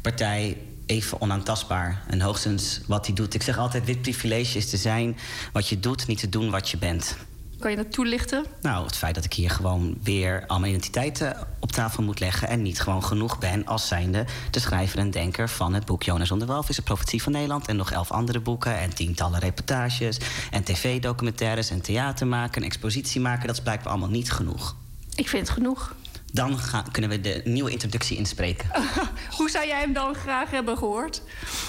S20: partij even onaantastbaar. En hoogstens wat hij doet. Ik zeg altijd: dit privilege is te zijn wat je doet, niet te doen wat je bent.
S19: Kan je dat toelichten?
S20: Nou, het feit dat ik hier gewoon weer al mijn identiteiten op tafel moet leggen... en niet gewoon genoeg ben als zijnde de schrijver en denker van het boek Jonas onder Walvis... de profetie van Nederland en nog elf andere boeken... en tientallen reportages en tv-documentaires en theater maken... en expositie maken, dat is blijkbaar allemaal niet genoeg.
S19: Ik vind het genoeg.
S20: Dan ga- kunnen we de nieuwe introductie inspreken.
S19: Hoe zou jij hem dan graag hebben gehoord?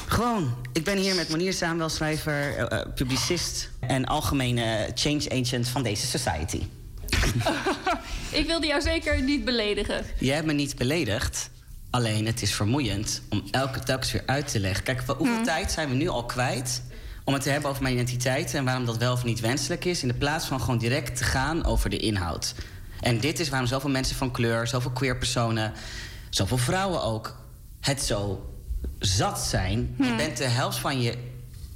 S20: Gewoon, ik ben hier met Monier Samuel, schrijver, eh, eh, publicist... en algemene change agent van deze society.
S19: Ik wilde jou zeker niet beledigen.
S20: Jij hebt me niet beledigd. Alleen het is vermoeiend om elke telkens weer uit te leggen. Kijk, wa- hoeveel tijd zijn we nu al kwijt om het te hebben over mijn identiteit en waarom dat wel of niet wenselijk is, in de plaats van gewoon direct te gaan over de inhoud. En dit is waarom zoveel mensen van kleur, zoveel queer personen, zoveel vrouwen ook, het zo zat zijn. Je bent de helft van je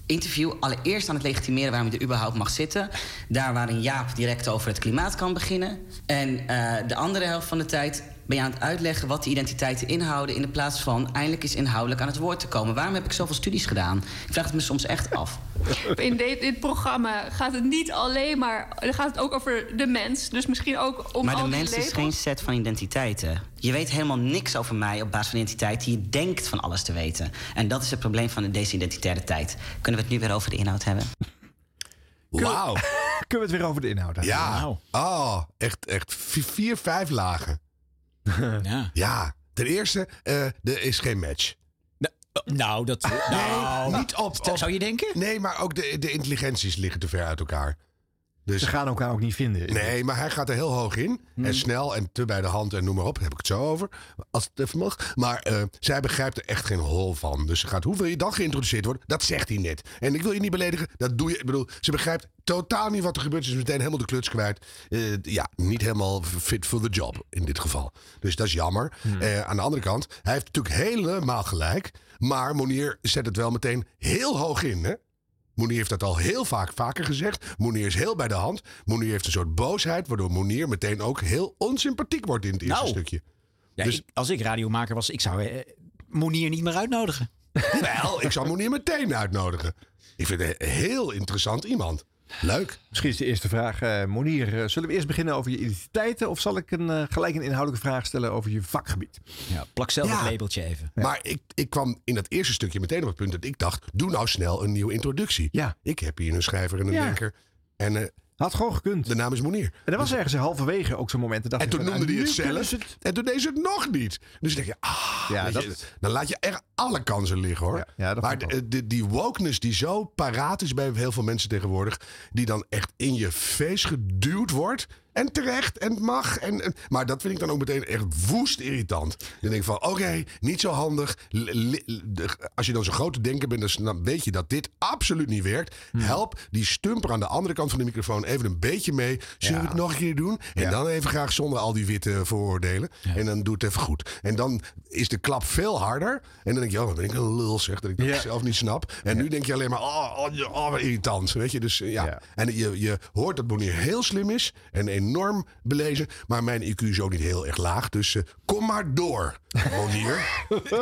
S20: interview allereerst aan het legitimeren waarom je er überhaupt mag zitten. Daar waarin Jaap direct over het klimaat kan beginnen. En eh, de andere helft van de tijd ben je aan het uitleggen wat die identiteiten inhouden... in de plaats van eindelijk eens inhoudelijk aan het woord te komen. Waarom heb ik zoveel studies gedaan? Ik vraag het me soms echt af.
S19: In dit, dit programma gaat het niet alleen maar... Dan gaat het ook over de mens. Dus misschien ook om
S20: maar
S19: al
S20: de
S19: die
S20: mens is
S19: labels.
S20: geen set van identiteiten. Je weet helemaal niks over mij op basis van identiteit. Je denkt van alles te weten. En dat is het probleem van deze identitaire tijd. Kunnen we het nu weer over de inhoud hebben?
S1: Wauw.
S2: Kunnen we het weer over de inhoud hebben?
S1: Ja. Oh, echt, echt vi- vier, vijf lagen.
S3: ja.
S1: Ten eerste, eh, er is geen match.
S3: Nou, dat... nou.
S1: Nee, niet op, Zou je denken? Nee, maar ook de, de intelligenties liggen te ver uit elkaar. Dus, Ze
S2: gaan elkaar ook niet vinden. Hmm.
S1: Nee, maar hij gaat er heel hoog in. En snel en te bij de hand en noem maar op. Daar heb ik het zo over. Als het even mag. Maar eh, zij begrijpt er echt geen hol van. Dus ze gaat, hoe wil je dan geïntroduceerd worden? Dat zegt hij net. En ik wil je niet beledigen. Dat doe je. Ik bedoel, ze begrijpt totaal niet wat er gebeurt. Ze is meteen helemaal de kluts kwijt. Eh, ja, niet helemaal fit for the job in dit geval. Dus dat is jammer.
S2: Hmm.
S1: Eh, aan de andere kant, hij heeft natuurlijk helemaal gelijk. Maar Monier zet het wel meteen heel hoog in, hè? Monier heeft dat al heel vaak vaker gezegd. Monier is heel bij de hand. Monier heeft een soort boosheid, waardoor Monier meteen ook heel onsympathiek wordt in het eerste
S3: Nou.
S1: stukje.
S3: Ja,
S1: dus
S3: ik- als ik radiomaker was, ik zou eh, Monier niet meer uitnodigen.
S1: wel, ik zou Monier meteen uitnodigen. Ik vind het een heel interessant iemand. Leuk.
S2: Misschien is de eerste vraag, eh Monier. eh, zullen we eerst beginnen over je identiteiten? Of zal ik een, eh, gelijk een inhoudelijke vraag stellen over je vakgebied?
S3: Ja, plak zelf
S1: Ja.
S3: het labeltje even.
S1: Maar ik, ik kwam in dat eerste stukje meteen op het punt dat ik dacht: doe nou snel een nieuwe introductie. Ja. Ik heb hier een schrijver en een
S2: Ja.
S1: denker. En, eh,
S2: Had gewoon gekund.
S1: De naam is Monier.
S2: En er was ergens halverwege ook zo'n moment. dat dacht
S1: En
S2: ik
S1: toen
S2: van,
S1: noemde
S2: nou,
S1: hij het
S2: nu kunnen
S1: zelf.
S2: ze
S1: En toen deed ze het nog niet. Dus dan denk je, ah,
S2: Ja,
S1: weet
S2: dat
S1: je,
S2: is-
S1: dan laat je echt alle kansen liggen hoor. maar de, de- die wokeness die zo paraat is bij heel veel mensen tegenwoordig, die dan echt in je face geduwd wordt. En terecht, en het mag. En, en- maar dat vind ik dan ook meteen echt woest irritant. Dan denk ik van, oké, niet zo handig. L- li- de- Als je dan zo'n grote denker bent, dus dan snap- weet je dat dit absoluut niet werkt.
S2: Hmm.
S1: Help die stumper aan de andere kant van de microfoon even een beetje mee. Zullen we het nog een keer doen? En dan even graag zonder al die witte vooroordelen. En dan doe het even goed. En dan is de klap veel harder. En dan denk je, oh, wat ben ik een lul zeg. Dat ik dat zelf niet snap. En nu denk je alleen maar, oh, oh, ja, oh, wat irritant. Weet je, dus eh, ja. En je, je hoort dat Bonnier heel slim is. En enorm belezen. Maar mijn IQ is ook niet heel erg laag. Dus eh, kom maar door, Bonnier.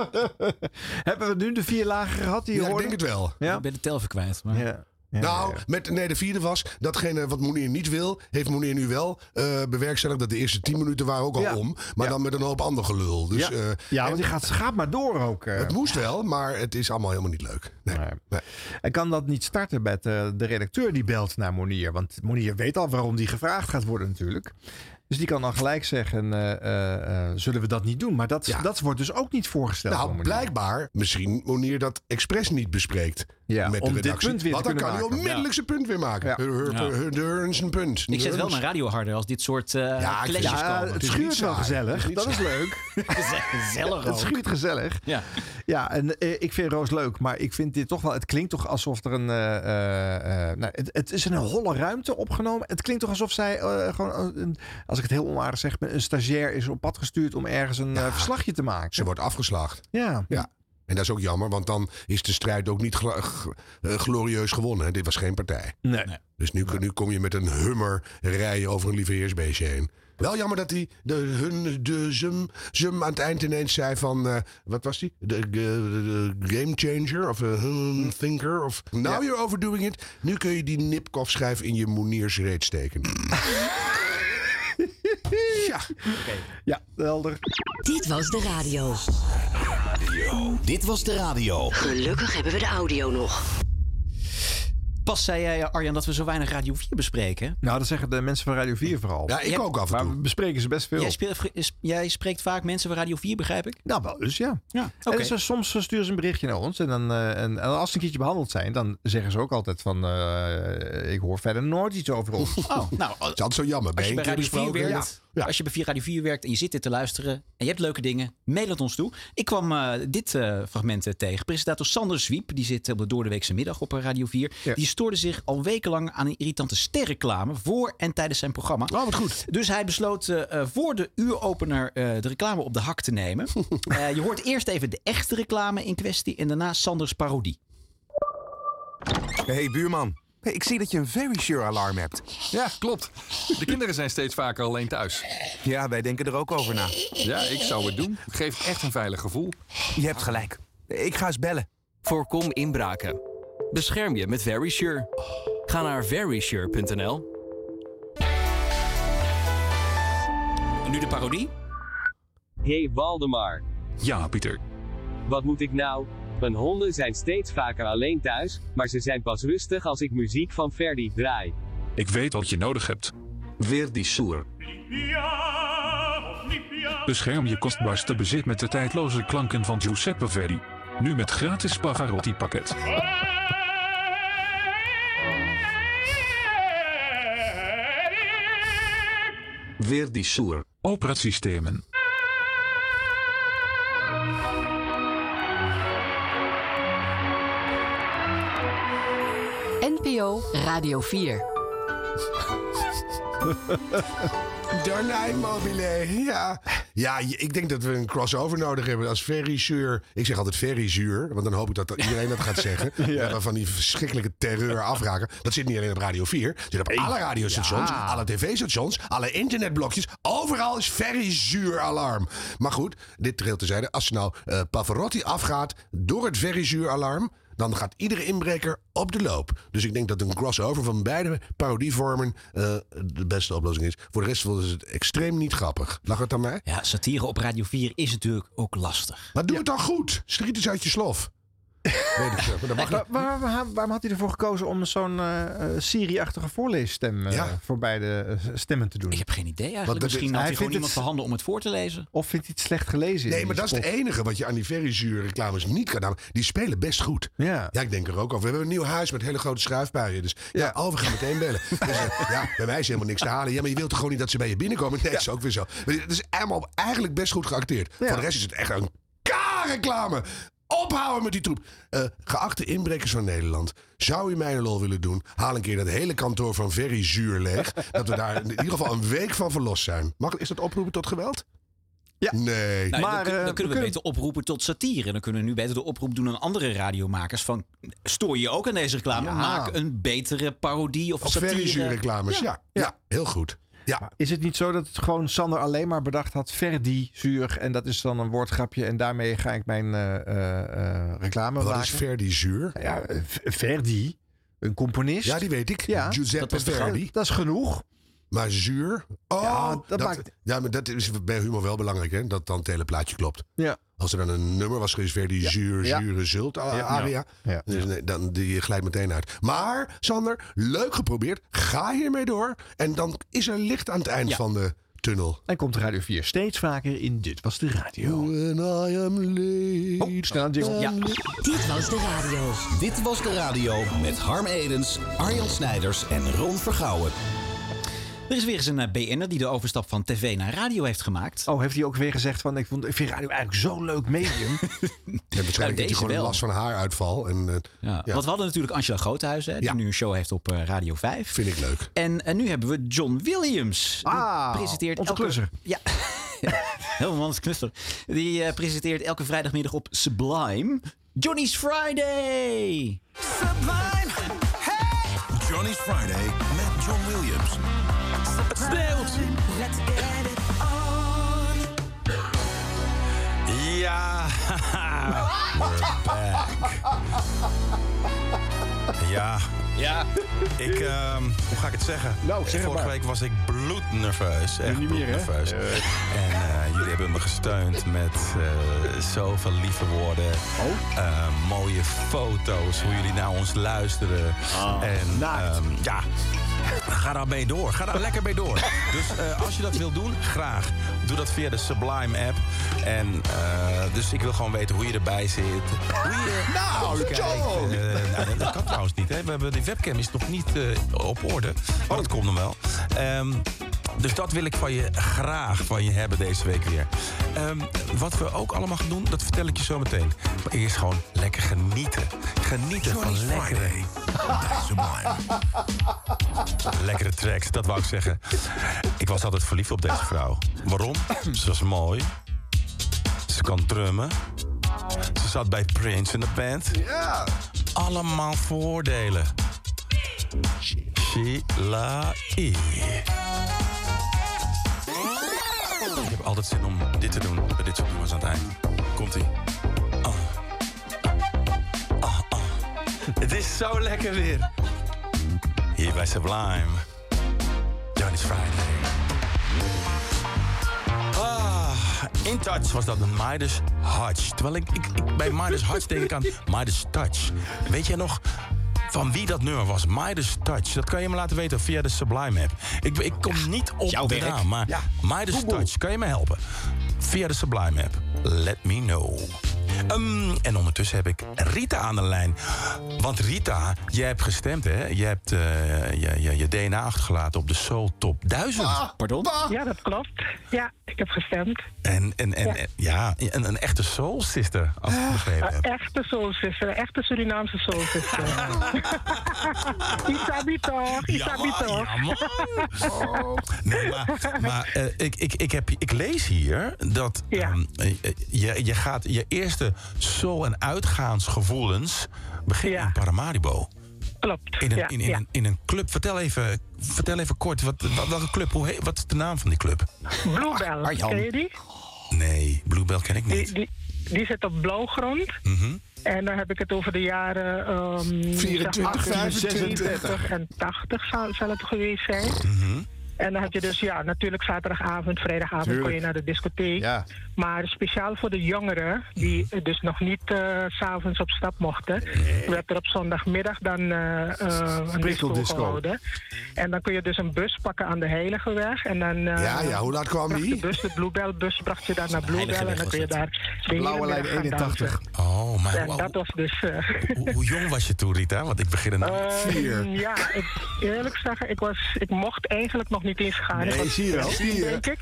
S2: Hebben we nu de vier lagen gehad die je
S1: Ja, ik
S2: hoorde?
S1: denk het wel.
S2: Ja?
S3: Ik ben de tel even kwijt. Maar...
S2: Ja.
S1: nou, Met, nee, de vierde was, datgene wat Moenier niet wil, heeft Moenier nu wel eh bewerkstelligd. Dat de eerste tien minuten waren ook al
S2: Ja.
S1: om, maar dan met een hoop ander gelul. Dus,
S2: Ja.
S1: eh,
S2: Ja, want die gaat, gaat maar door ook. eh.
S1: Het moest wel, maar het is allemaal helemaal niet leuk.
S2: Nee. En kan dat niet starten met eh, de redacteur die belt naar Monier? Want Monier weet al waarom die gevraagd gaat worden natuurlijk. Dus die kan dan gelijk zeggen, eh, eh, eh, zullen we dat niet doen? Maar dat, dat wordt dus ook niet voorgesteld.
S1: Nou, blijkbaar misschien Monier dat expres niet bespreekt met
S2: om
S1: de
S2: dit
S1: redactie.
S2: punt weer te
S1: Want dan kan
S2: kunnen
S1: hij
S2: maken.
S1: onmiddellijk zijn punt weer maken.
S2: Ja.
S1: Hur, hur,
S3: Ja.
S1: hur, hur, hur, zijn punt.
S3: Dus Ik zet wel mijn radio harder als dit soort eh
S1: ik vind-
S3: clashes
S1: ja,
S3: komen.
S1: het Het is schuurt niet wel saai. gezellig. Het is niet Dat is saai.
S2: leuk.
S3: gezellig
S2: Het
S3: ook.
S2: schuurt gezellig.
S3: Ja.
S2: Ja, en eh, ik vind Roos leuk, maar ik vind dit toch wel. Het klinkt toch alsof er een. eh, eh, eh, nou, het, het is in een holle ruimte opgenomen. Het klinkt toch alsof zij eh, gewoon, eh, een- als ik het heel onaardig zeg, een stagiair is op pad gestuurd om ergens een eh, verslagje te maken.
S1: Ze wordt afgeslacht.
S2: Ja.
S1: Ja. En dat is ook jammer, want dan is de strijd ook niet gla- g- eh, glorieus gewonnen. hè. Dit was geen partij.
S2: Nee.
S1: Dus nu, nu kom je met een hummer rijden over een lieveheersbeestje heen. Wel jammer dat hij de, hun, de zum, zum aan het eind ineens zei van... eh, wat was die? De, de- de game changer of eh, hmm, thinker of... Now you're overdoing it. Nu kun je die Nipkoff-schijf in je Moeniers reet steken. ja.
S2: Ja, helder.
S4: Dit was de radio.
S3: Dit was de radio.
S4: Gelukkig hebben we de audio nog.
S3: Pas zei jij, Arjan, dat we zo weinig Radio 4 bespreken.
S2: Nou, dat zeggen de mensen van Radio 4 vooral.
S1: Ja, ik
S3: Jij-
S1: ook af en toe.
S2: We bespreken ze best veel.
S3: Jij, speelt- is- jij spreekt vaak mensen van Radio 4, begrijp ik?
S2: Nou, wel dus ja.
S3: ja
S2: En
S3: oké.
S2: dus, eh, soms sturen ze een berichtje naar ons. En, dan, eh, en, en als ze een keertje behandeld zijn, dan zeggen ze ook altijd van... eh, ik hoor verder nooit iets over ons.
S3: Oh, nou,
S1: Het is altijd zo jammer.
S3: Als je,
S1: één
S3: bij
S1: keer
S3: Radio 4
S1: besproken.
S3: werkt, als je bij Radio 4 werkt en je zit dit te luisteren en je hebt leuke dingen, mail het ons toe. Ik kwam eh, dit eh, fragment eh, tegen. Presentator Sander Zwiep, die zit op de doordeweekse middag op eh, Radio 4. Die stoorde zich al wekenlang aan een irritante sterreclame voor en tijdens zijn programma.
S1: Oh, wat goed.
S3: Dus hij besloot eh, eh, voor de uuropener eh, de reclame op de hak te nemen. Eh, je hoort eerst even de echte reclame in kwestie en daarna Sanders parodie.
S11: Hey buurman, Hey, ik zie dat je een very sure alarm hebt.
S21: Ja, klopt. De kinderen zijn steeds vaker alleen thuis.
S11: Ja, wij denken er ook over na.
S21: Ja, ik zou het doen. Het geeft echt een veilig gevoel.
S11: Je hebt gelijk. Ik ga eens bellen.
S22: Voorkom inbraken. Bescherm je met Verisure. Ga naar verisure.nl.
S3: Nu de parodie.
S23: Hey Waldemar.
S21: Ja, Pieter.
S23: Wat moet ik nou? Mijn honden zijn steeds vaker alleen thuis, maar ze zijn pas rustig als ik muziek van Ferdi draai.
S21: Ik weet wat je nodig hebt. Weer die soer. Bescherm je kostbaarste bezit met de tijdloze klanken van Giuseppe Verdi. Nu met gratis Pavarotti pakket. Weer die soer. Operatiesystemen.
S9: NPO Radio 4.
S1: Darnijn Mobile, ja. Ja, je- ik denk dat we een crossover nodig hebben als verisuur. Ik zeg altijd verisuur, want dan hoop ik dat dat iedereen dat gaat zeggen. ja. Waarvan die verschrikkelijke terreur afraken. Dat zit niet alleen op Radio 4. Dat zit op alle radiostations,
S2: Ja.
S1: alle tv-stations, alle internetblokjes. Overal is verisuur alarm. Maar goed, dit te terzijde. Als ze nou eh, Pavarotti afgaat door het verisuur alarm... Dan gaat iedere inbreker op de loop. Dus ik denk dat een crossover van beide parodievormen eh, de beste oplossing is. Voor de rest was het extreem niet grappig. Lag het aan mij?
S3: Ja, satire op Radio 4 is natuurlijk ook lastig.
S1: Maar doe het dan goed. Schiet eens uit je slof. Weet ik veel, maar dat mag
S2: Waar-
S1: niet.
S2: waar- waar- waarom had hij ervoor gekozen om zo'n eh eh, Siri-achtige voorleesstem eh, voor beide eh, stemmen te doen? Ik heb
S3: geen idee Eigenlijk misschien had hij gewoon iemand van handen om het voor te lezen.
S2: Of vindt hij het slecht gelezen?
S1: Nee, maar dat is het enige wat je aan die verisuur reclames niet kan doen. Die spelen best goed.
S2: Ja.
S1: ik denk er ook over. We hebben een nieuw huis met hele grote schuifbuien. Dus ja, oh, we gaan meteen bellen. Dus, eh, ja, bij mij is helemaal niks te halen. Ja, maar je wilt toch gewoon niet dat ze bij je binnenkomen? Nee, dat is ook weer zo. Maar het is allemaal eigenlijk best goed geacteerd. Voor de rest is het echt een K-reclame. Ophouden met die troep. Eh, geachte inbrekers van Nederland, zou u mij een lol willen doen? Haal een keer dat hele kantoor van Verri Zuur leeg. Dat we daar in ieder geval een week van verlost zijn. Mag, is dat oproepen tot geweld?
S2: Ja.
S1: Nee. eh,
S3: Nou, dan, kun-
S6: eh,
S3: dan kunnen we, beter oproepen tot satire. Dan kunnen we nu beter de oproep doen aan andere radiomakers. Van, stoor je ook aan deze reclame?
S1: Ja.
S3: Maak een betere parodie of,
S1: Of
S3: satire.
S1: verrisuurreclames, ja. ja. heel goed. Ja.
S2: Is het niet zo dat het gewoon Sander alleen maar bedacht had Verdi zuur en dat is dan een woordgrapje en daarmee ga ik mijn eh, eh, eh, reclame
S1: Wat
S2: maken?
S1: is Verdi zuur?
S2: eh, Ja, eh, Verdi. Een componist.
S1: Ja, die weet ik. Giuseppe
S2: dat was de
S1: Verdi.
S2: grote- Dat is genoeg.
S1: Maar zuur? Oh,
S2: Ja, dat maakt-
S1: ja, maar dat is bij humor wel belangrijk, hè? Dat dan het hele plaatje klopt.
S2: Ja.
S1: Als er dan een nummer was gereserveerd die zuur,
S2: Ja.
S1: zure zult, a-
S2: Ja.
S1: aria.
S2: Ja.
S1: Dus nee, dan, die glijdt meteen uit. Maar, Sander, leuk geprobeerd. Ga hiermee door. En dan is er licht aan het eind
S2: Ja.
S1: van de tunnel.
S2: En komt Radio 4 steeds vaker in Dit Was De Radio.
S1: eh, When I am late. Oh,
S2: snel een jingle.
S6: Ja.
S2: Dit Was De Radio.
S6: Dit was de radio met Harm Edens, Arjan Snijders en Ron Vergouwen.
S3: Er is weer eens een eh, BN'er die de overstap van tv naar radio heeft gemaakt.
S2: Oh, heeft hij ook weer gezegd van ik, vond, ik vind radio eigenlijk zo'n leuk
S1: En
S2: medium.
S1: waarschijnlijk heeft
S3: deze
S1: hij gewoon
S3: wel.
S1: last van haaruitval. En, eh, ja.
S3: Want we hadden natuurlijk Angela Groothuis, hè, die nu een show heeft op eh, Radio 5.
S1: Vind ik leuk.
S3: En, eh, nu hebben we John Williams. Die
S2: Ah,
S3: presenteert
S2: onze
S3: elke...
S2: klusser.
S3: Ja. Helemaal anders knuster. Die eh, presenteert elke vrijdagmiddag op Sublime. Johnny's Friday!
S24: Johnny's Friday met John Williams.
S6: Speelt! Let's get it on.
S24: Ja. Eh, Ja. Ja. Ik, ehm, hoe ga ik het zeggen?
S2: Nou, zeg het
S24: Vorige
S2: maar.
S24: week was ik bloednerveus. Echt
S2: niet meer, hè?
S24: bloednerveus. En eh, jullie hebben me gesteund met eh, zoveel lieve woorden.
S2: Oh.
S24: Eh, mooie foto's, hoe jullie naar ons luisteren.
S2: Ah,
S24: en ehm, ja, ga daar mee door. Ga daar lekker mee door. Dus eh, als je dat wilt doen, graag. Doe dat via de Sublime app. En eh, dus ik wil gewoon weten hoe je erbij zit. Hoe je
S2: Nou,
S24: kijkt.
S2: John!
S24: Eh, nou, dat kan trouwens niet. Hè. We hebben, die webcam is nog niet eh, op orde. Maar dat komt nog wel. Ehm, dus dat wil ik van je graag van je hebben deze week weer. Ehm, wat we ook allemaal gaan doen, dat vertel ik je zo meteen. Maar eerst gewoon lekker genieten. Genieten van lekkere, lekkere tracks. Dat wou ik zeggen. Ik was altijd verliefd op deze vrouw. Waarom? Ze was mooi. Ze kan drummen. Ze zat bij Prince in de band.
S2: Ja.
S24: Allemaal voordelen. Sheila E. Ik heb altijd zin om dit te doen. Bij dit soort nummers aan het eind. Komt-ie. Het is zo lekker weer. Hier bij Sublime. Johnny's Friday. Ah, in touch was dat een Midas Hutch. Terwijl ik, ik, ik bij Midas Hutch denk ik aan Midas Touch. Weet jij nog van wie dat nummer was? Midas Touch. Dat kan je me laten weten via de Sublime app. Ik, ik kom niet op
S6: jouw
S24: de
S6: werk.
S24: naam, maar
S6: Ja.
S24: Midas Touch. Kan je me helpen? Via de Sublime app. Let me know. Ehm, en ondertussen heb ik Rita aan de lijn. Want Rita, jij hebt gestemd, hè? Je hebt eh, je, je, je DNA achtergelaten op de Soul Top 1000.
S3: Pardon?
S25: Ja, dat klopt. Ja, ik heb gestemd.
S24: En, en, en, en- ja, een, een echte soul sister, als ik het begrepen heb.
S25: Een Eh, echte soulzuster, een echte Surinaamse soulzuster. Isabi toch, Isabi toch.
S24: Nee, maar, maar eh, ik, ik, ik, heb, ik lees hier dat ehm, eh, eh, je, je, gaat, je eerste soul- en uitgaansgevoelens beginnen in Paramaribo.
S25: Klopt.
S24: In een,
S25: ja,
S24: in, in,
S25: ja.
S24: Een, in een club. Vertel even, vertel even kort, wat, wat, welke club? Hoe heet, wat is de naam van die club?
S1: Ah,
S25: Bluebell,
S24: Arjan.
S25: ken je die?
S24: Nee, Bluebell ken ik niet. Mhm.
S25: Die, die? die zit op blauwgrond. En dan heb ik het over de jaren... ehm
S24: 24,
S25: 70 en 80 zal, zal het geweest zijn.
S24: Mhm.
S25: En dan heb je dus, ja, natuurlijk zaterdagavond, vrijdagavond kon je
S2: Tuurlijk.
S25: naar de discotheek.
S2: Ja.
S25: Maar speciaal voor de jongeren, die
S24: Mhm.
S25: eh, dus nog niet eh, s s'avonds op stap mochten, werd er op zondagmiddag dan eh, eh, een disco,
S1: Prikkeldisco.
S25: gehouden. En dan kun je dus een bus pakken aan de Heiligeweg. En dan, eh,
S1: Ja, ja, hoe laat kwam
S25: bracht
S1: die?
S25: De, bus, de Bluebellbus bracht je daar naar Bluebell en
S1: Heiligeweg
S25: dan kun je
S1: was het.
S25: daar de hele
S1: Blauwe lijn
S25: middag gaan
S1: 81.
S25: dansen.
S24: Oh, maar
S25: En
S24: hoe,
S25: dat was dus... eh,
S24: hoe- hoe jong was je toen, Rita? Want ik begin er nou...
S25: Ehm, Ja, ik, eerlijk zeggen, ik, was, ik mocht eigenlijk nog niet eens gaan. ik
S24: Nee,
S25: was
S24: zie je wel,
S25: 13,
S24: zie je.
S25: denk ik.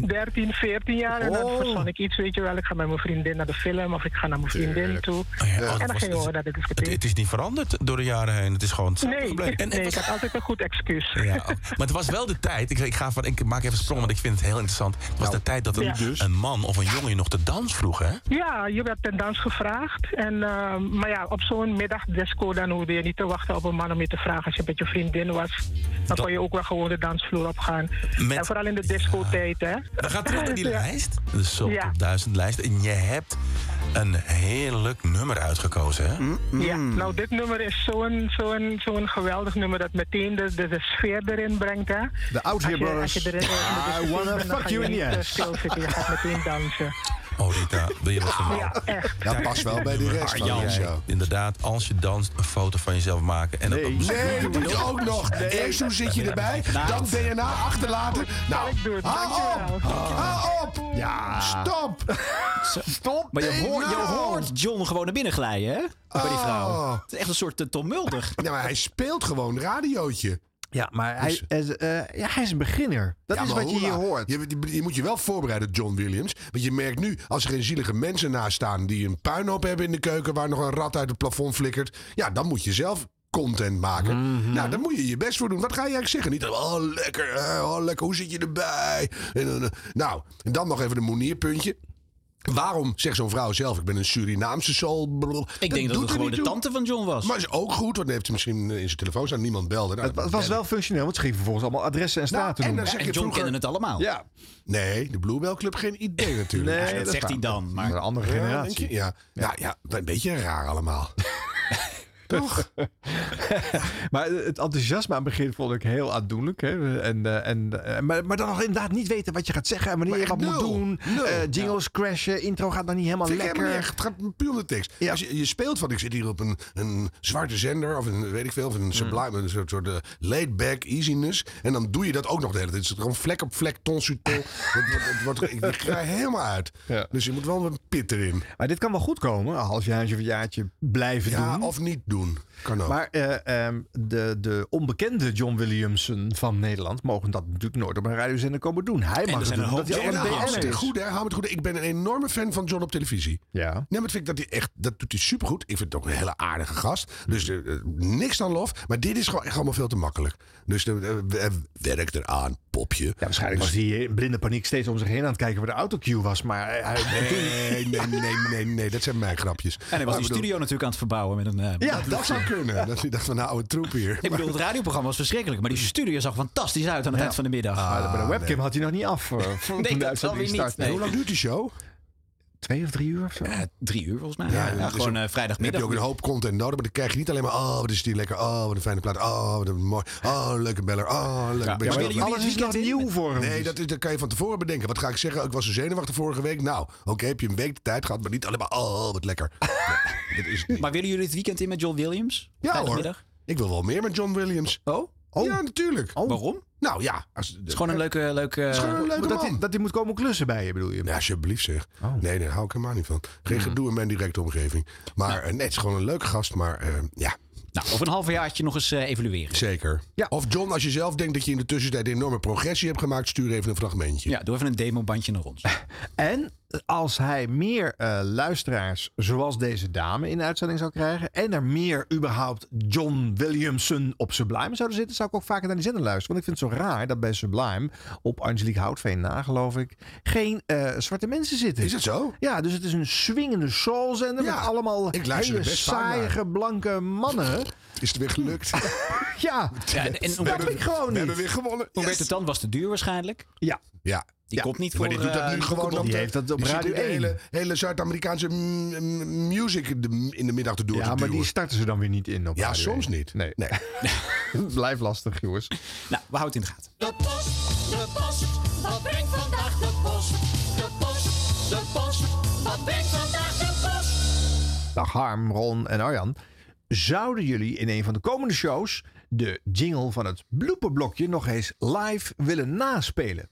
S25: 13, 14 jaar. En dan
S24: Oh.
S25: verzon ik iets, weet je wel. Ik ga met mijn vriendin naar de film of ik ga naar mijn vriendin toe.
S24: oh, dat
S25: en dan
S24: was
S25: gingen we
S24: dus-
S25: naar de
S24: Het,
S25: discotheek.
S24: het is niet veranderd door de jaren heen. Het is gewoon hetzelfde
S25: Nee,
S24: gebleven. En, en
S25: nee, ik
S24: was-
S25: had altijd een goed excuus.
S24: Ja, oh. maar het was wel de tijd. Ik, ik, ga van, ik maak even een sprong, want ik vind het heel interessant. Het was de tijd dat een,
S25: Nou, Ja.
S24: een man of een jongen je nog de dans vroeg, hè?
S25: Ja, je werd ten dans gevraagd. En, ehm, maar ja, op zo'n middagdisco dan hoefde je niet te wachten op een man om je te vragen als je met je vriendin was. Dan kon je ook wel gewoon de dansvloer opgaan. En vooral in de discotijd, hè.
S24: We gaan terug naar die
S25: Ja.
S24: lijst. De Soul
S25: Ja.
S24: Top 1000 lijst. En je hebt een heerlijk nummer uitgekozen, hè?
S25: Ja, nou dit nummer is zo'n zo'n zo'n geweldig nummer dat meteen de, de, de sfeer erin brengt. Hè?
S2: De Out
S25: Als
S2: Here
S25: je- als je
S2: Brothers.
S25: erin- als
S2: I
S25: je er
S2: wanna
S25: bent, dan
S2: fuck
S25: ga je
S2: you in
S25: niet,
S2: the
S25: eh,
S2: ass.
S25: stilzitten, je gaat meteen dansen.
S24: Oh, Rita, wil je wat van mij?
S25: Ja, echt.
S1: Dat past wel bij de rest van de show.
S24: Inderdaad, als je danst, een foto van jezelf maken. En
S1: Nee, nee, doe het ook nog. Eerst hoe zit je erbij,
S24: Nou.
S1: dan DNA achterlaten. Nou, hou op, hou op.
S2: Ja.
S1: Stop.
S2: Stop.
S3: Maar je,
S1: nee,
S3: hoort, je
S1: nou.
S3: hoort John gewoon naar binnen glijden, hè? Bij die vrouw.
S1: Oh.
S3: Het is echt een soort eh, Tom Mulder.
S1: Ja, maar hij speelt gewoon radiootje.
S2: Ja, Nou, maar hij, is, eh, ja, hij is een beginner.
S1: Dus-
S2: Dat
S1: Ja,
S2: is
S1: maar
S2: wat je hier
S1: hoera.
S2: hoort.
S1: Je, je- je moet je wel voorbereiden, John Williams. Want je merkt nu, als er geen zielige mensen naast staan... die een puinhoop hebben in de keuken... waar nog een rat uit het plafond flikkert... ja, dan moet je zelf content maken.
S3: Mhm.
S1: Nou, daar moet je je best voor doen. Wat ga je eigenlijk zeggen? Niet, oh, lekker, hè, oh, lekker, hoe zit je erbij? En, dan, eh, nou, en dan nog even een monierpuntje. Waarom zegt zo'n vrouw zelf, ik ben een Surinaamse soul? Blablabla.
S3: Ik denk dat
S1: doet
S3: het
S1: er
S3: gewoon
S1: niet
S3: de
S1: toe.
S3: tante van John was.
S1: Maar is ook goed, want dan heeft ze misschien eh, in zijn telefoon staan. Niemand belde. Nou,
S2: Het, wa- het was
S1: ja,
S2: wel functioneel, want ze gingen vervolgens allemaal adressen en straten
S1: en
S2: noemen.
S1: dan zeg je vroeger-
S2: Ja.
S1: Nee, de Bluebell Club geen idee natuurlijk.
S2: Nee, Ja, dat dat zegt waar. hij dan, maar- Een andere
S1: Ja,
S2: generatie.
S1: denk je? Ja, Nou ja, een beetje raar allemaal. Toch?
S2: Maar het enthousiasme aan het begin vond ik heel aandoenlijk. Hè? En, eh, en, eh, maar, maar dan nog inderdaad niet weten wat je gaat zeggen en wanneer je wat moet
S1: nul.
S2: doen.
S1: Nul.
S2: Eh, jingles crashen, intro gaat dan niet helemaal
S1: Vind ik
S2: lekker.
S1: helemaal niet echt. Het gaat puur om de tekst. Als je, je speelt van, ik zit hier op een, een zwarte zender of een, weet ik veel, of
S2: Mm.
S1: een sublime, een soort, soort eh, laid-back easiness. En dan doe je dat ook nog de hele tijd. Het is gewoon vlek op vlek, ton sur ton. Het wordt- het wordt- ik, ik
S2: Eh,
S1: ga er helemaal uit. Dus je moet wel een pit erin.
S2: Maar dit kan wel goed komen. Een halfjaartje of een jaartje blijven
S1: Ja,
S2: doen.
S1: of niet doen. Kan ook.
S2: Maar eh, ehm, de, de onbekende John Williamson van Nederland mogen dat natuurlijk nooit op een radiozender komen doen. Hij mag
S3: er
S2: het
S3: zijn
S2: doen.
S3: een hoop
S2: hij
S1: en
S2: al een BN'er
S1: hou me het
S2: is.
S1: goed, hè? Hou me het goed. Ik ben een enorme fan van John op televisie.
S2: Ja.
S1: Nee, maar dat vind ik dat hij echt, dat doet hij supergoed. Ik vind het ook een hele aardige gast. Dus eh, eh, niks dan lof. Maar dit is gewoon echt allemaal veel te makkelijk. Dus eh, eh, werk eraan, popje. Dus- Ja,
S2: Waarschijnlijk was hij in blinde paniek steeds om zich heen aan het kijken waar de autocue was. Maar hij,
S1: Nee, nee, nee, nee, nee, dat zijn mijn grapjes.
S3: En hij was
S1: Maar
S3: die
S1: ik bedoel-
S3: studio natuurlijk aan het verbouwen met een... eh,
S1: Ja, dat zou kunnen. Dat hij dacht van, nou, oude troep hier.
S3: Ik bedoel, het radioprogramma was verschrikkelijk, maar die studio zag fantastisch uit aan het
S2: Ja.
S3: eind van de middag. Ah,
S2: Maar bij de webcam had hij nog niet af. eh, voor-
S3: Nee,
S2: toen de
S3: dat zal
S2: uitzending
S3: weer niet.
S2: startte.
S3: Nee. Hoe lang
S1: duurt die show?
S2: Twee of drie uur of zo?
S3: drie uur volgens mij. Ja,
S1: dus
S3: gewoon
S1: ook-
S3: eh,
S1: Dan heb
S3: vrijdagmiddag.
S1: je ook een hoop content nodig, maar dan krijg je niet alleen maar... oh, wat is die lekker, oh, wat een fijne plaat, oh, wat een mooi... oh, een leuke beller, oh, een leuke
S3: Ja,
S1: beller.
S3: maar willen jullie het weekend in?
S1: Nee, dat, is, dat kan je van tevoren bedenken. Wat ga ik zeggen? Ik was zo zenuwachtig vorige week. Nou, oké, heb je een week de tijd gehad, maar niet alleen maar... oh, wat lekker. Nee, dat is het niet.
S3: Maar willen jullie het weekend in met John Williams?
S1: Ja hoor,
S3: Vrijdagmiddag?
S1: ik wil wel meer met John Williams.
S3: Oh?
S1: Ja, natuurlijk.
S3: Waarom?
S1: Nou ja. Als,
S3: Het is gewoon een leuke... leuke
S1: Het is gewoon een leuke
S2: dat
S1: man.
S2: hij- Dat hij moet komen klussen bij je, bedoel je? Oh. Hmm.
S1: Ja, alsjeblieft zeg. Nee, daar hou ik helemaal niet van. Geen gedoe in mijn directe omgeving. Maar eh, nee, het is gewoon een leuke gast, maar eh, ja.
S3: Nou, over een halfjaartje nog eens eh, evalueren.
S1: Zeker. Of John, als je zelf denkt dat je in de tussentijd een enorme progressie hebt gemaakt, stuur even een fragmentje.
S3: Ja, doe even een demobandje naar ons.
S2: En als hij meer eh, luisteraars zoals deze dame in de uitzending zou krijgen. En er meer überhaupt John Williamson op Sublime zouden zitten. Zou ik ook vaker naar die zender luisteren. Want ik vind het zo raar dat bij Sublime op Angelique Houtveen na geloof ik. Geen eh, zwarte mensen zitten.
S1: Is dat zo?
S2: Ja, dus het is een swingende soulzender.
S1: Ja,
S2: met allemaal
S1: ik luister er
S2: hele
S1: best vaak naar.
S2: saaiige blanke mannen.
S1: Is het weer gelukt?
S2: Ja,
S3: Ja, en- en
S2: dat
S3: hoe-
S2: vind ik gewoon
S1: We
S2: niet.
S1: hebben weer gewonnen.
S3: Hoe
S1: Yes.
S3: werd het dan? Was te duur waarschijnlijk?
S2: Ja.
S1: Ja.
S3: Die komt niet voor...
S1: maar die doet dat
S3: eh,
S1: nu gewoon.
S3: Boekenbal.
S1: om te-
S2: heeft dat op
S1: die zit nu
S2: Radio
S1: de
S2: 1.
S1: hele, hele Zuid-Amerikaanse m- m- music in de- in de middag te doen.
S2: Ja, maar die starten ze dan weer niet in op
S1: Ja,
S2: Radio
S1: soms
S2: 1.
S1: niet.
S2: Nee. Blijf lastig, jongens.
S3: Nou, we houden het in de gaten.
S12: De post, de post, wat brengt vandaag de post? De post, de post, wat brengt vandaag de post?
S2: Dag Harm, Ron en Arjan. Zouden jullie in een van de komende shows de jingle van het blooperblokje nog eens live willen naspelen?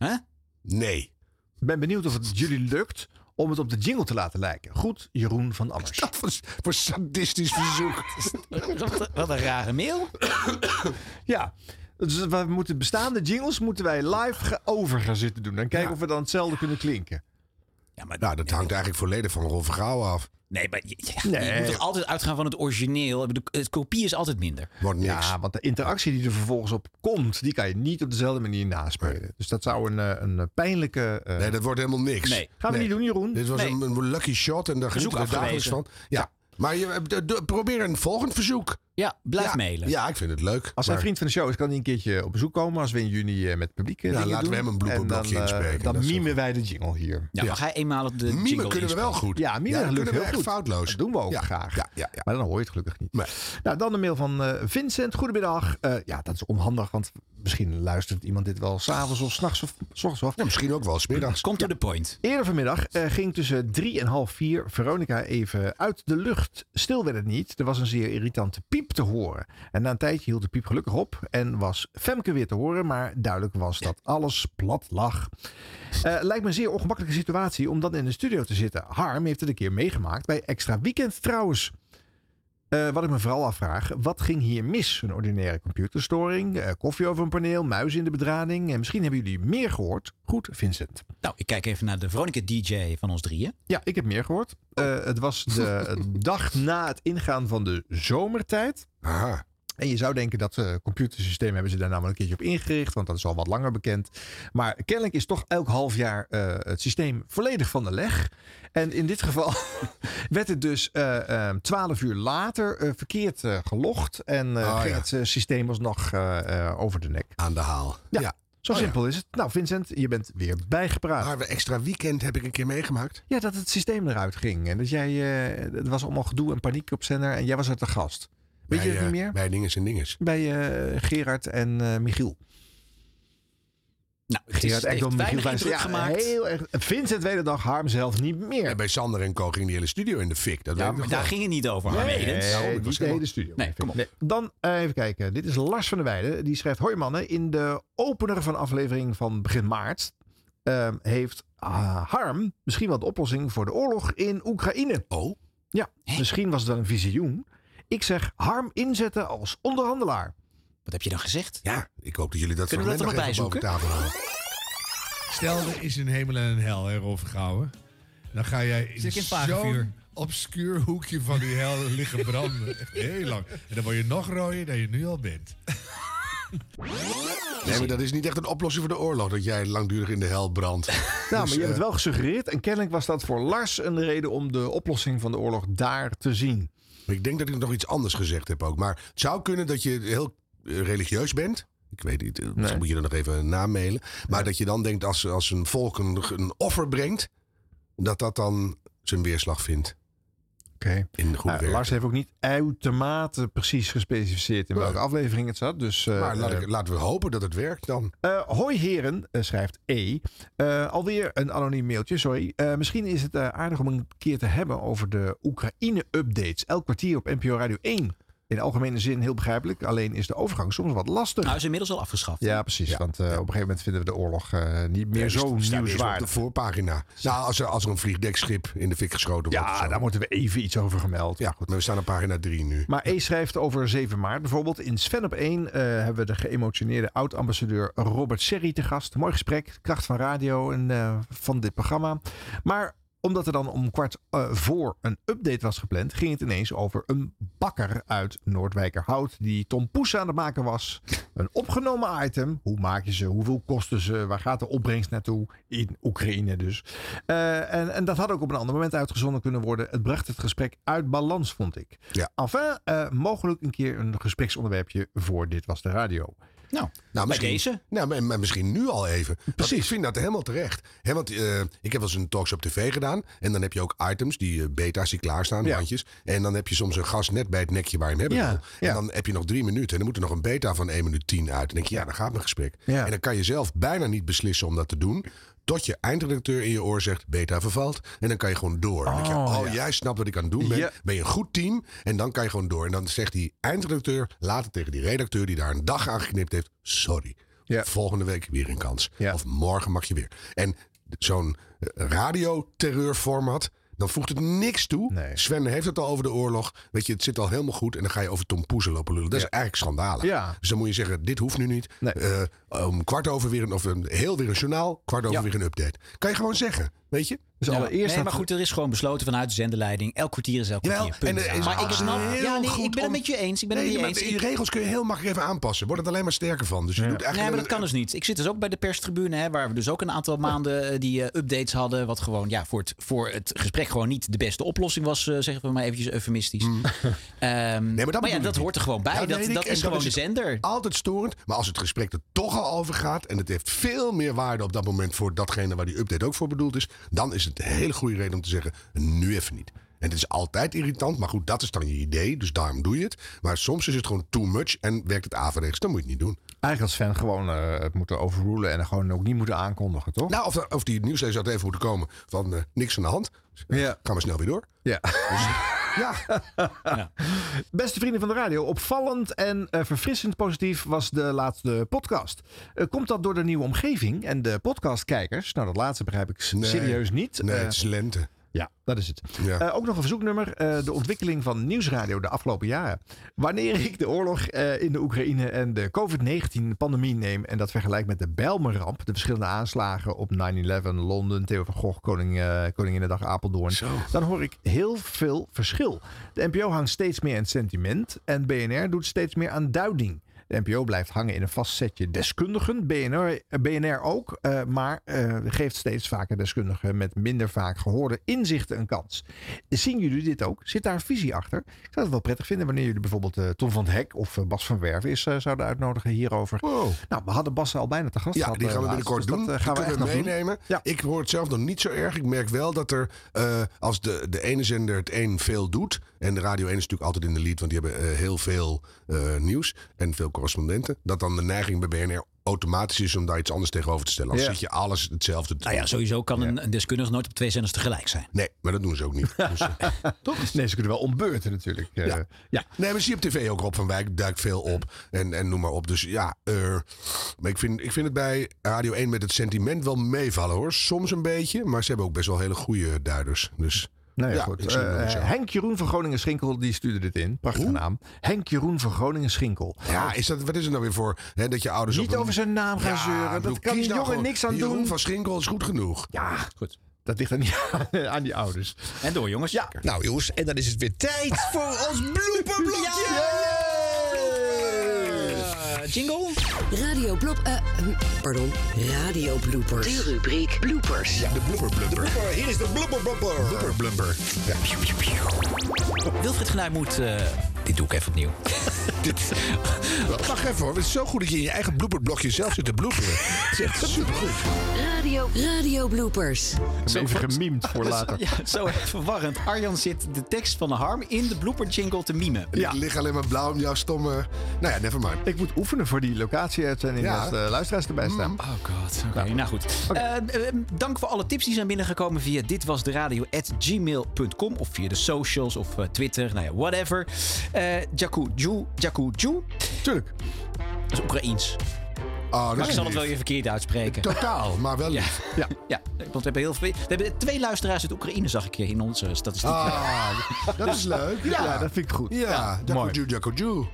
S1: Nee.
S2: Ik ben benieuwd of het jullie lukt om het op de jingle te laten lijken. Goed, Jeroen van Ammers.
S1: Dat was voor sadistisch verzoek.
S3: Wat een rare mail.
S2: Ja. Dus we moeten bestaande jingles moeten wij live ge- over gaan zitten doen. En kijken of we dan hetzelfde kunnen klinken.
S1: Nou, dat hangt eigenlijk volledig van Rolf Gouwen af.
S3: Nee, maar je, ja, je moet toch altijd uitgaan van het origineel. Ik bedoel, Het kopie is altijd minder.
S1: Wordt niks.
S2: Ja, want de interactie die er vervolgens op komt, die kan je niet op dezelfde manier naspelen. Dus dat zou een, eh, een eh, pijnlijke. eh,
S1: Nee, dat wordt helemaal niks.
S2: Nee. Gaan we
S1: Nee.
S2: niet doen, Jeroen.
S1: Dit was
S2: Nee.
S1: een, een lucky shot en daar
S2: Verzoek
S1: genieten we dagelijks van.
S2: afgewezen.
S1: Ja. Maar je, eh, de- de- probeer een volgend verzoek.
S3: Ja, blijf mailen.
S1: Ja, ik vind het leuk.
S2: Als hij
S1: maar-
S2: vriend van de show is, kan hij een keertje op bezoek komen. Als we in juni eh, met publiek eh,
S1: Ja,
S2: dingen
S1: laten we
S2: doen.
S1: hem een blooperblokje
S2: En dan, eh,
S1: inspreken.
S2: Dan
S1: Dat is
S2: mimen wij de jingle hier.
S3: Ja, maar ga eenmalig de
S1: Mimen
S3: jingle
S1: kunnen we wel
S3: inspreken.
S1: goed.
S2: Ja, mimen
S1: Ja, dat
S2: lukt
S1: kunnen we
S2: heel
S1: echt
S2: goed.
S1: foutloos.
S2: Dat doen we ook graag. Maar dan hoor je het gelukkig niet. Nou, dan de mail van eh, Vincent. Goedemiddag. Eh, ja, dat is onhandig, want misschien luistert iemand dit wel s'avonds of s'nachts of s ochtends af.
S1: misschien ook wel smiddags.
S3: Komt to the point.
S2: Eerder vanmiddag eh, ging tussen drie en half vier Veronica even uit de lucht. Stil werd het niet. Er was een zeer irritante piep te horen. En na een tijdje hield de piep gelukkig op en was Femke weer te horen. Maar duidelijk was dat alles plat lag. Eh, lijkt me een zeer ongemakkelijke situatie om dan in de studio te zitten. Harm heeft het een keer meegemaakt bij Extra Weekend trouwens. Eh, wat ik me vooral afvraag, wat ging hier mis? Een ordinaire computerstoring, eh, koffie over een paneel, muizen in de bedrading. En misschien hebben jullie meer gehoord. Goed, Vincent.
S3: Nou, ik kijk even naar de Veronica DJ van ons drieën.
S2: Ja, ik heb meer gehoord.
S1: Oh.
S2: Eh, het was de dag na het ingaan van de zomertijd. En je zou denken dat eh computersysteem hebben ze daar namelijk een keertje op ingericht, want dat is al wat langer bekend. Maar kennelijk is toch elk half jaar eh, het systeem volledig van de leg. En in dit geval werd het dus twaalf uur later eh, verkeerd eh, gelogd en eh,
S1: Oh,
S2: ging
S1: ja.
S2: het eh, systeem alsnog eh, eh, over de nek.
S1: Aan de haal.
S2: Ja,
S1: Ja.
S2: zo
S1: Oh, ja.
S2: simpel is het. Nou Vincent, je bent weer bijgepraat.
S1: Maar we extra weekend heb ik een keer meegemaakt.
S2: Ja, dat het systeem eruit ging. En dat jij, eh, het was allemaal gedoe en paniek op zender. En jij was er te gast. Weet
S1: Bij,
S2: je dat
S1: eh,
S2: niet meer?
S1: Bij dinges en dinges.
S2: Bij eh, Gerard en eh, Michiel.
S3: Nou,
S1: het is- het
S2: Gerard
S1: heeft
S2: Ekdom, Michiel
S1: weinig
S2: Wijs.
S1: indruk gemaakt.
S2: Heel erg. Vincent weet het nog, Harm zelf niet meer.
S1: bij Sander en Co ging die hele studio in de fik. Dat weet ik nog
S3: maar Nou, daar
S1: wel. Oh,
S3: ging het niet over, Harm
S2: Nee,
S3: Edens.
S2: nee,
S3: Nou, dat
S2: niet
S3: was
S2: de
S3: helemaal-
S2: hele studio.
S3: Nee, kom op.
S2: Nee. Dan eh, even kijken. Dit is Lars van der Weijden. Die schrijft: Hoi mannen, in de opener van aflevering van begin maart eh, heeft ah, Harm misschien wel de oplossing voor de oorlog in Oekraïne.
S1: Oh?
S2: Ja, misschien was het wel een visioen. Ik zeg Harm inzetten als onderhandelaar.
S3: Wat heb je dan gezegd?
S1: Ja, ik hoop dat jullie dat
S3: Kunnen we dat
S1: fragment
S3: er nog
S1: even boven
S3: bij
S1: tafel halen.
S13: Stel, er is een hemel en een hel, hè, Rolf Gouwen. Dan ga jij in,
S14: Zit ik in vagevuur?
S13: zo'n obscuur hoekje van die hel liggen branden. Echt heel lang. En dan word je nog rooier dan je nu al bent.
S1: Nee, maar dat is niet echt een oplossing voor de oorlog. Dat jij langdurig in de hel brandt.
S2: Nou,
S1: Dus,
S2: maar je
S1: eh,
S2: hebt het wel gesuggereerd. En kennelijk was dat voor Lars een reden om de oplossing van de oorlog daar te zien.
S1: Ik denk dat ik nog iets anders gezegd heb ook. Maar het zou kunnen dat je heel eh, religieus bent. Ik weet niet, eh, misschien moet je er nog even namelen. Maar dat je dan denkt als, als een volk een, een offer brengt... dat dat dan zijn weerslag vindt.
S2: Oké.
S1: In de goede
S2: Nou,
S1: werken.
S2: Lars heeft ook niet uitermate precies gespecificeerd in
S1: Nee.
S2: welke aflevering het zat. Dus, eh,
S1: Maar laat ik-
S2: eh,
S1: laten we hopen dat het werkt dan.
S2: Eh, hoi heren, eh, schrijft E. Eh, alweer een anoniem mailtje, sorry. Eh, misschien is het eh, aardig om een keer te hebben over de Oekraïne-updates. Elk kwartier op NPO Radio 1. In algemene zin heel begrijpelijk. Alleen is de overgang soms wat lastig.
S3: Nou, is inmiddels al afgeschaft.
S2: ja, precies. Want eh, op een gegeven moment vinden we de oorlog eh, niet meer
S1: Ja,
S2: zo
S1: dus staat eerst op
S2: nieuwswaardig.
S1: de voorpagina. Nou, als er, als er een vliegdekschip in de fik geschoten wordt. Ja, daar
S2: moeten we even iets over gemeld.
S1: Ja, goed. Maar we staan op pagina 3 nu.
S2: Maar E schrijft over 7 maart bijvoorbeeld. In Sven op 1 eh, hebben we de geëmotioneerde oud-ambassadeur Robert Serri te gast. Mooi gesprek, kracht van radio en eh, van dit programma. Maar omdat er dan om kwart eh, voor een update was gepland, ging het ineens over een bakker uit Noordwijkerhout die tompoes aan het maken was. Een opgenomen item. Hoe maak je ze? Hoeveel kosten ze? Waar gaat de opbrengst naartoe? In Oekraïne dus. Eh, en, en dat had ook op een ander moment uitgezonden kunnen worden. Het bracht het gesprek uit balans, vond ik.
S1: Ja.
S2: Enfin, eh, mogelijk een keer een gespreksonderwerpje voor Dit Was De Radio.
S3: Nou,
S1: Nou, misschien, Nou, maar, maar misschien nu al even. Precies. Ik vind dat helemaal terecht. Hè, want eh, ik heb wel eens een talks op tv gedaan. En dan heb je ook items, die eh, beta's die klaarstaan,
S2: Ja.
S1: bandjes. En dan heb je soms een gast net bij het nekje waar je hem hebt.
S2: Ja,
S1: En dan heb je nog drie minuten. En dan moet er nog een beta van 1 minuut 10 uit. En dan denk je, ja, daar gaat mijn gesprek.
S2: Ja.
S1: En dan kan je zelf bijna niet beslissen om dat te doen. Tot je eindredacteur in je oor zegt, beta vervalt. En dan kan je gewoon door. Dan denk je,
S2: Oh,
S1: oh,
S2: ja.
S1: jij snapt wat ik aan het doen ben.
S2: Ja.
S1: Ben je een goed team. En dan kan je gewoon door. En dan zegt die eindredacteur later tegen die redacteur die daar een dag aan geknipt heeft. Sorry. Volgende week weer een kans. Of morgen mag je weer. En zo'n eh, radioterreurformat. Dan voegt het niks toe. Sven heeft het al over de oorlog. Weet je, het zit al helemaal goed. En dan ga je over Tom Poezel lopen lullen. Dat is eigenlijk schandalig.
S2: Ja.
S1: Dus dan moet je zeggen, dit hoeft nu niet. Eh, om kwart over weer een, of een, heel weer een journaal. Kwart over weer een update. Kan je gewoon zeggen. Weet je?
S2: Dus
S3: Ja.
S2: allereerst...
S3: Nee, maar goed, er is gewoon besloten vanuit de zenderleiding. Elk kwartier is elk
S1: Jawel,
S3: kwartier. Punt.
S1: en er is
S3: maar ik
S1: ook
S3: snap.
S1: heel
S3: Ja, nee, ik
S1: goed
S3: ben
S1: om-
S3: het met je eens. Ik ben het
S1: Nee,
S3: met je
S1: maar
S3: eens.
S1: die
S3: Ik-
S1: regels kun je heel makkelijk even aanpassen. Wordt het alleen maar sterker van. Dus je doet
S3: Nee,
S1: eigenlijk
S3: maar dat kan dus niet. Ik zit dus ook bij de perstribune, hè, waar we dus ook een aantal maanden eh, die eh, updates hadden. Wat gewoon ja, voor, het, voor het gesprek gewoon niet de beste oplossing was, eh, zeggen we maar eventjes eufemistisch. Ehm, maar ja, dat hoort er gewoon bij. dat dat is
S1: dus
S3: gewoon de zender.
S1: Altijd storend. Maar als het gesprek er toch al over gaat. en het heeft veel meer waarde op dat moment. voor datgene waar die update ook voor bedoeld is. dan is het een hele goede reden om te zeggen. nu even niet. En het is altijd irritant. Maar goed, dat is dan je idee. Dus daarom doe je het. Maar soms is het gewoon too much. en werkt het averechts. Dan moet je het niet doen.
S2: Eigenlijk als fan gewoon eh, het moeten overrulen en gewoon ook niet moeten aankondigen, toch?
S1: Nou, of, of die nieuwslezer had even moeten komen. van eh, niks aan de hand. Ja. Gaan we snel weer door. Dus
S2: Ja.
S1: ja.
S2: Beste vrienden van de radio, opvallend en eh, verfrissend positief was de laatste podcast. Eh, komt dat door de nieuwe omgeving en de podcastkijkers? Nou, dat laatste begrijp ik s-
S1: Nee.
S2: serieus niet.
S1: Nee,
S2: Eh,
S1: het is lente.
S2: Ja, dat is het.
S1: Ja.
S2: Eh, ook nog een verzoeknummer. eh, de ontwikkeling van nieuwsradio de afgelopen jaren. Wanneer ik de oorlog eh, in de Oekraïne en de COVID-19-pandemie neem en dat vergelijk met de Bijlmerramp, de verschillende aanslagen op 9-11, Londen, Theo van Gogh, Koning, eh Koninginnedag, Apeldoorn, dan hoor ik heel veel verschil. De NPO hangt steeds meer aan het sentiment en BNR doet steeds meer aan duiding. De NPO blijft hangen in een vast setje deskundigen. BNR, eh, BNR ook, eh, maar eh, geeft steeds vaker deskundigen met minder vaak gehoorde inzichten een kans. Zien jullie dit ook? Zit daar een visie achter? Ik zou het wel prettig vinden wanneer jullie bijvoorbeeld eh, Tom van Hek of eh, Bas van Werven is, eh, zouden uitnodigen hierover. Nou, we hadden Bas al bijna te gast
S1: Ja,
S2: gehad,
S1: die
S2: eh,
S1: gaan we
S2: laatst.
S1: binnenkort doen.
S2: Dus Dat, eh,
S1: Die
S2: gaan we echt
S1: kunnen
S2: nog
S1: we
S2: doen.
S1: meenemen. Ik hoor het zelf nog niet zo erg. Ik merk wel dat er, eh, als de, de ene zender het een veel doet... en de Radio 1 is natuurlijk altijd in de lead... want die hebben eh, heel veel eh, nieuws en veel correspondenten... dat dan de neiging bij BNR automatisch is om daar iets anders tegenover te stellen. Dan
S3: Ja.
S1: zit je alles hetzelfde te
S3: Nou ja,
S1: doen.
S3: sowieso kan een, een deskundige nooit op twee zenders tegelijk zijn.
S1: Nee, maar dat doen ze ook niet. Dus, eh,
S2: Nee, ze kunnen wel ombeurten natuurlijk. eh,
S1: ja. Nee, we zien op tv ook Rob van Wijk duikt veel op. En, en noem maar op. Dus ja, eh, maar ik vind, ik vind het bij Radio 1 met het sentiment wel meevallen hoor. Soms een beetje, maar ze hebben ook best wel hele goede duiders. Dus
S2: Nou ja, goed.
S1: ik zie het nog
S2: Eh,
S1: niet zo.
S2: Henk Jeroen van Groningen Schinkel die stuurde dit in. Prachtige naam. Henk Jeroen van Groningen Schinkel.
S1: ja, is dat, wat is het nou weer voor hè, dat je ouders
S2: Niet over zijn naam gaan zeuren. Dat kan die jongen niks aan doen.
S1: nou Jeroen van Schinkel is goed genoeg.
S2: Ja, goed. Dat ligt er niet aan, eh, aan die ouders.
S3: En door, jongens. Ja.
S5: Nou, jongens, en dan is het weer tijd voor ons blooperblokje.
S3: jingle.
S4: Radio blop... eh, hm, pardon. Radio bloopers. De rubriek bloopers.
S1: Ja, de blooper blooper.
S5: Hier is de blooper blooper.
S1: Blooper blooper. Ja.
S3: Wilfried Genaai moet. eh, dit doe ik even opnieuw.
S1: Dit- Wacht even hoor, het is zo goed dat je in je eigen blooperblokje zelf zit te bloeperen. Het is echt supergoed.
S4: Radio, radio bloopers.
S2: Even gemiemd voor later.
S3: Ja, zo verwarrend. Arjan zit de tekst van de harm in de blooper jingle te mimen.
S1: Ja. Ik lig alleen maar blauw om jouw stomme... Nou ja, never mind.
S2: Ik moet oefenen voor die locatie-uitzending
S1: Ja. Mm.
S2: als de luisteraars erbij staan.
S3: Oh god, oké. Nou goed. Eh, eh, dank voor alle tips die zijn binnengekomen via ditwasderadio.gmail.com of via de socials of eh, Twitter, nou ja, whatever. Eh Jaku Ju, Jaku Ju.
S2: Tuurlijk.
S3: Dat is Oekraïens.
S1: Oh,
S3: maar ik zal het wel even verkeerd uitspreken.
S1: Totaal, maar wel
S3: Ja.
S1: lief.
S2: Ja.
S3: ja, want we hebben heel veel. We hebben twee luisteraars uit Oekraïne, zag ik in onze statistiek.
S1: Ah, dat is leuk.
S2: Ja, dat vind ik goed. Ah.
S1: Ja, Jakoju, Jakoju.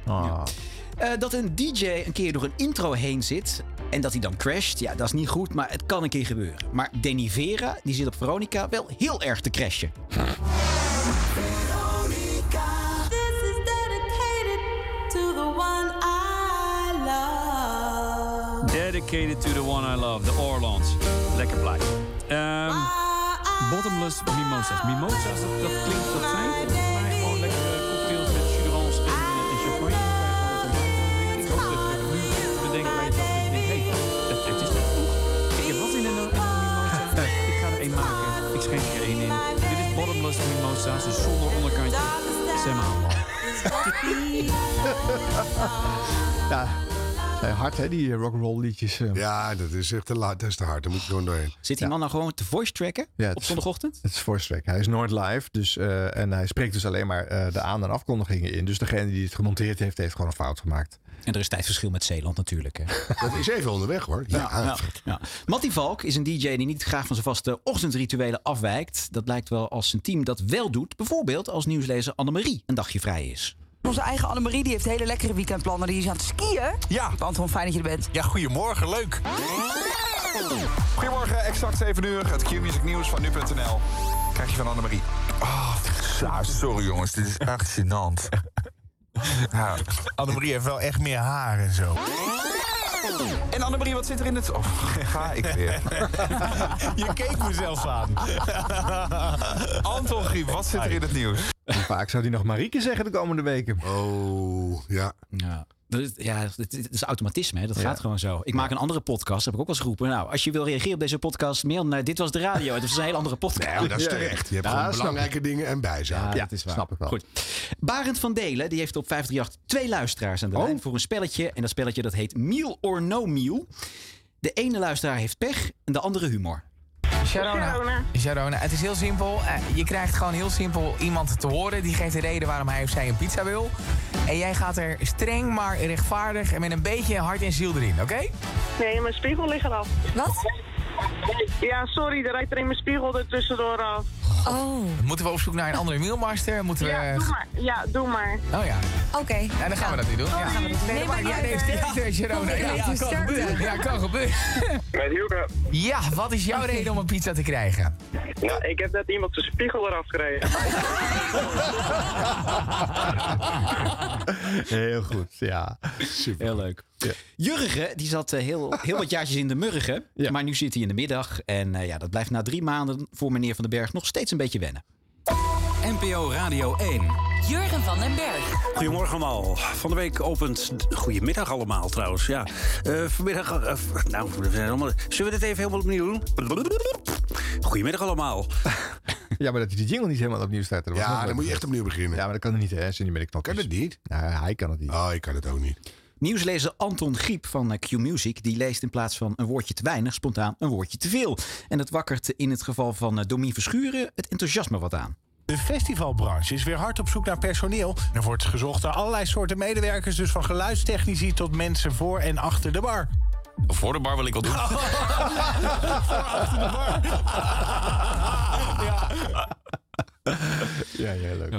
S3: Eh, dat een DJ een keer door een intro heen zit en dat hij dan crasht, ja, dat is niet goed, maar het kan een keer gebeuren. Maar Denny Vera, die zit op Veronica wel heel erg te crashen.
S12: This is dedicated to the one I love.
S14: Dedicated to the one I love, the Orlans. Lekker blij. Ehm, bottomless mimosas. Mimosas, dat, dat klinkt dat fijn. Maar gewoon lekkere cocktails met sudrans en, eh, en champagne. Ik hoop dat je nu bedenkt bij jezelf dat je denkt, hé, het, het is net vroeg. Ik heb wat in een en een mimosa. Ik ga er één maken. Ik schenk er één in. Dit is bottomless mimosa's, dus zonder onderkantje. Zeg maar allemaal.
S2: Ja, zijn hard hè, die eh, rock'n'roll liedjes. eh.
S1: Ja, dat is echt te, la- dat is te hard. Daar moet je gewoon doorheen.
S3: Zit die man nou gewoon te voice tracken
S2: Ja,
S3: op zondagochtend?
S2: Het is voorstrek. Hij is nooit live. Dus, eh, en hij spreekt dus alleen maar eh, de aan- en afkondigingen in. Dus degene die het gemonteerd heeft, heeft gewoon een fout gemaakt.
S3: En er is tijdverschil met Zeeland natuurlijk. Hè.
S1: Dat is even onderweg hoor. Ja.
S3: Ja, ja. Matty Valk is een DJ die niet graag van zijn vaste ochtendrituelen afwijkt. Dat lijkt wel als zijn team dat wel doet. Bijvoorbeeld als nieuwslezer Annemarie een dagje vrij is.
S26: Onze eigen Annemarie die heeft hele lekkere weekendplannen. Die is aan het skiën. Ja. Anton, fijn dat je er bent.
S5: Ja, goedemorgen, leuk.
S11: Goedemorgen, exact 7 uur. Het Q-music nieuws van nu.nl. Krijg je van Annemarie. Oh, ja, sorry jongens, dit is echt gênant. Ja.
S27: Annemarie heeft wel echt meer haar en zo.
S11: En Annemarie, wat zit er in het... Oh, ga ik weer.
S27: Je keek mezelf aan.
S11: Anton Griep, wat zit er in het nieuws?
S2: Vaak zou die nog Marieke zeggen de komende weken.
S1: Oh, ja.
S3: Ja. Dat is, ja, het het is automatisme, hè? dat gaat gewoon zo. Oh, Ik maak een andere podcast, heb ik ook wel eens geroepen. Nou, als je wil reageren op deze podcast, mail naar Dit Was De Radio. Het was een hele andere podcast.
S1: Nee, maar dat is terecht. Je hebt
S3: Ja,
S1: gewoon
S3: snap ik.
S1: belangrijke dingen en bijzaken.
S3: Ja, dat is waar. Goed. Barend van Delen die heeft op 538 twee luisteraars
S1: Oh.
S3: aan de lijn voor een spelletje. En dat spelletje dat heet Meal or No Meal. De ene luisteraar heeft pech en de andere humor.
S8: Sharona. Sharona. Het is heel simpel. Eh, Je krijgt gewoon heel simpel iemand te horen. Die geeft de reden waarom hij of zij een pizza wil. En jij gaat er streng, maar rechtvaardig en met een beetje hart en ziel erin, oké?
S28: Nee, mijn spiegel ligt eraf.
S8: Wat?
S28: Ja, sorry, er rijdt er in mijn spiegel er tussendoor af.
S8: Oh. Moeten we op zoek naar een andere mealmaster? Moeten we...
S28: Ja, doe maar. Ja, doe maar.
S8: Oh ja.
S28: Oké.
S8: Ja, dan gaan we dat nu doen. Ja. Nee, maar ja, nee, sterkte, eh, Sharona. Ja, ja, kan gebeuren. Ja, kan gebeuren.
S9: Met Hilke.
S8: Ja, wat is jouw reden om een pizza te krijgen?
S9: Nou, ik heb net iemand zijn spiegel eraf gereden.
S2: Heel goed, ja. Super.
S3: Heel leuk. Jurgen, die zat eh, heel, heel wat jaartjes in de murgen. Maar nu zit hij in de middag. En eh, ja, dat blijft na drie maanden voor meneer Van den Berg nog steeds een beetje wennen.
S29: NPO Radio 1.
S19: Jurgen van den Berg.
S15: Goedemorgen allemaal. Van de week opent... Goedemiddag allemaal trouwens, ja. Eh, vanmiddag... eh, v- nou, we zijn allemaal... Zullen we dit even helemaal opnieuw doen? Goedemiddag allemaal.
S2: Ja, maar dat hij die jingle niet helemaal opnieuw start.
S15: Ja, dan moet je echt
S1: opnieuw beginnen.
S2: Ja, maar dat kan er niet, hè? Ze niet met de knop. Kan
S1: het niet?
S2: Nou, hij kan het niet.
S1: Oh, ik kan het ook niet.
S3: Nieuwslezer Anton Griep van eh, Q-Music die leest in plaats van een woordje te weinig spontaan een woordje te veel. En dat wakkert in het geval van eh, Domien Verschuren het enthousiasme wat aan.
S27: De festivalbranche is weer hard op zoek naar personeel. Er wordt gezocht naar allerlei soorten medewerkers, dus van geluidstechnici tot mensen voor en achter de bar.
S30: Voor de bar wil ik wel doen.
S2: Ja, ja, leuk.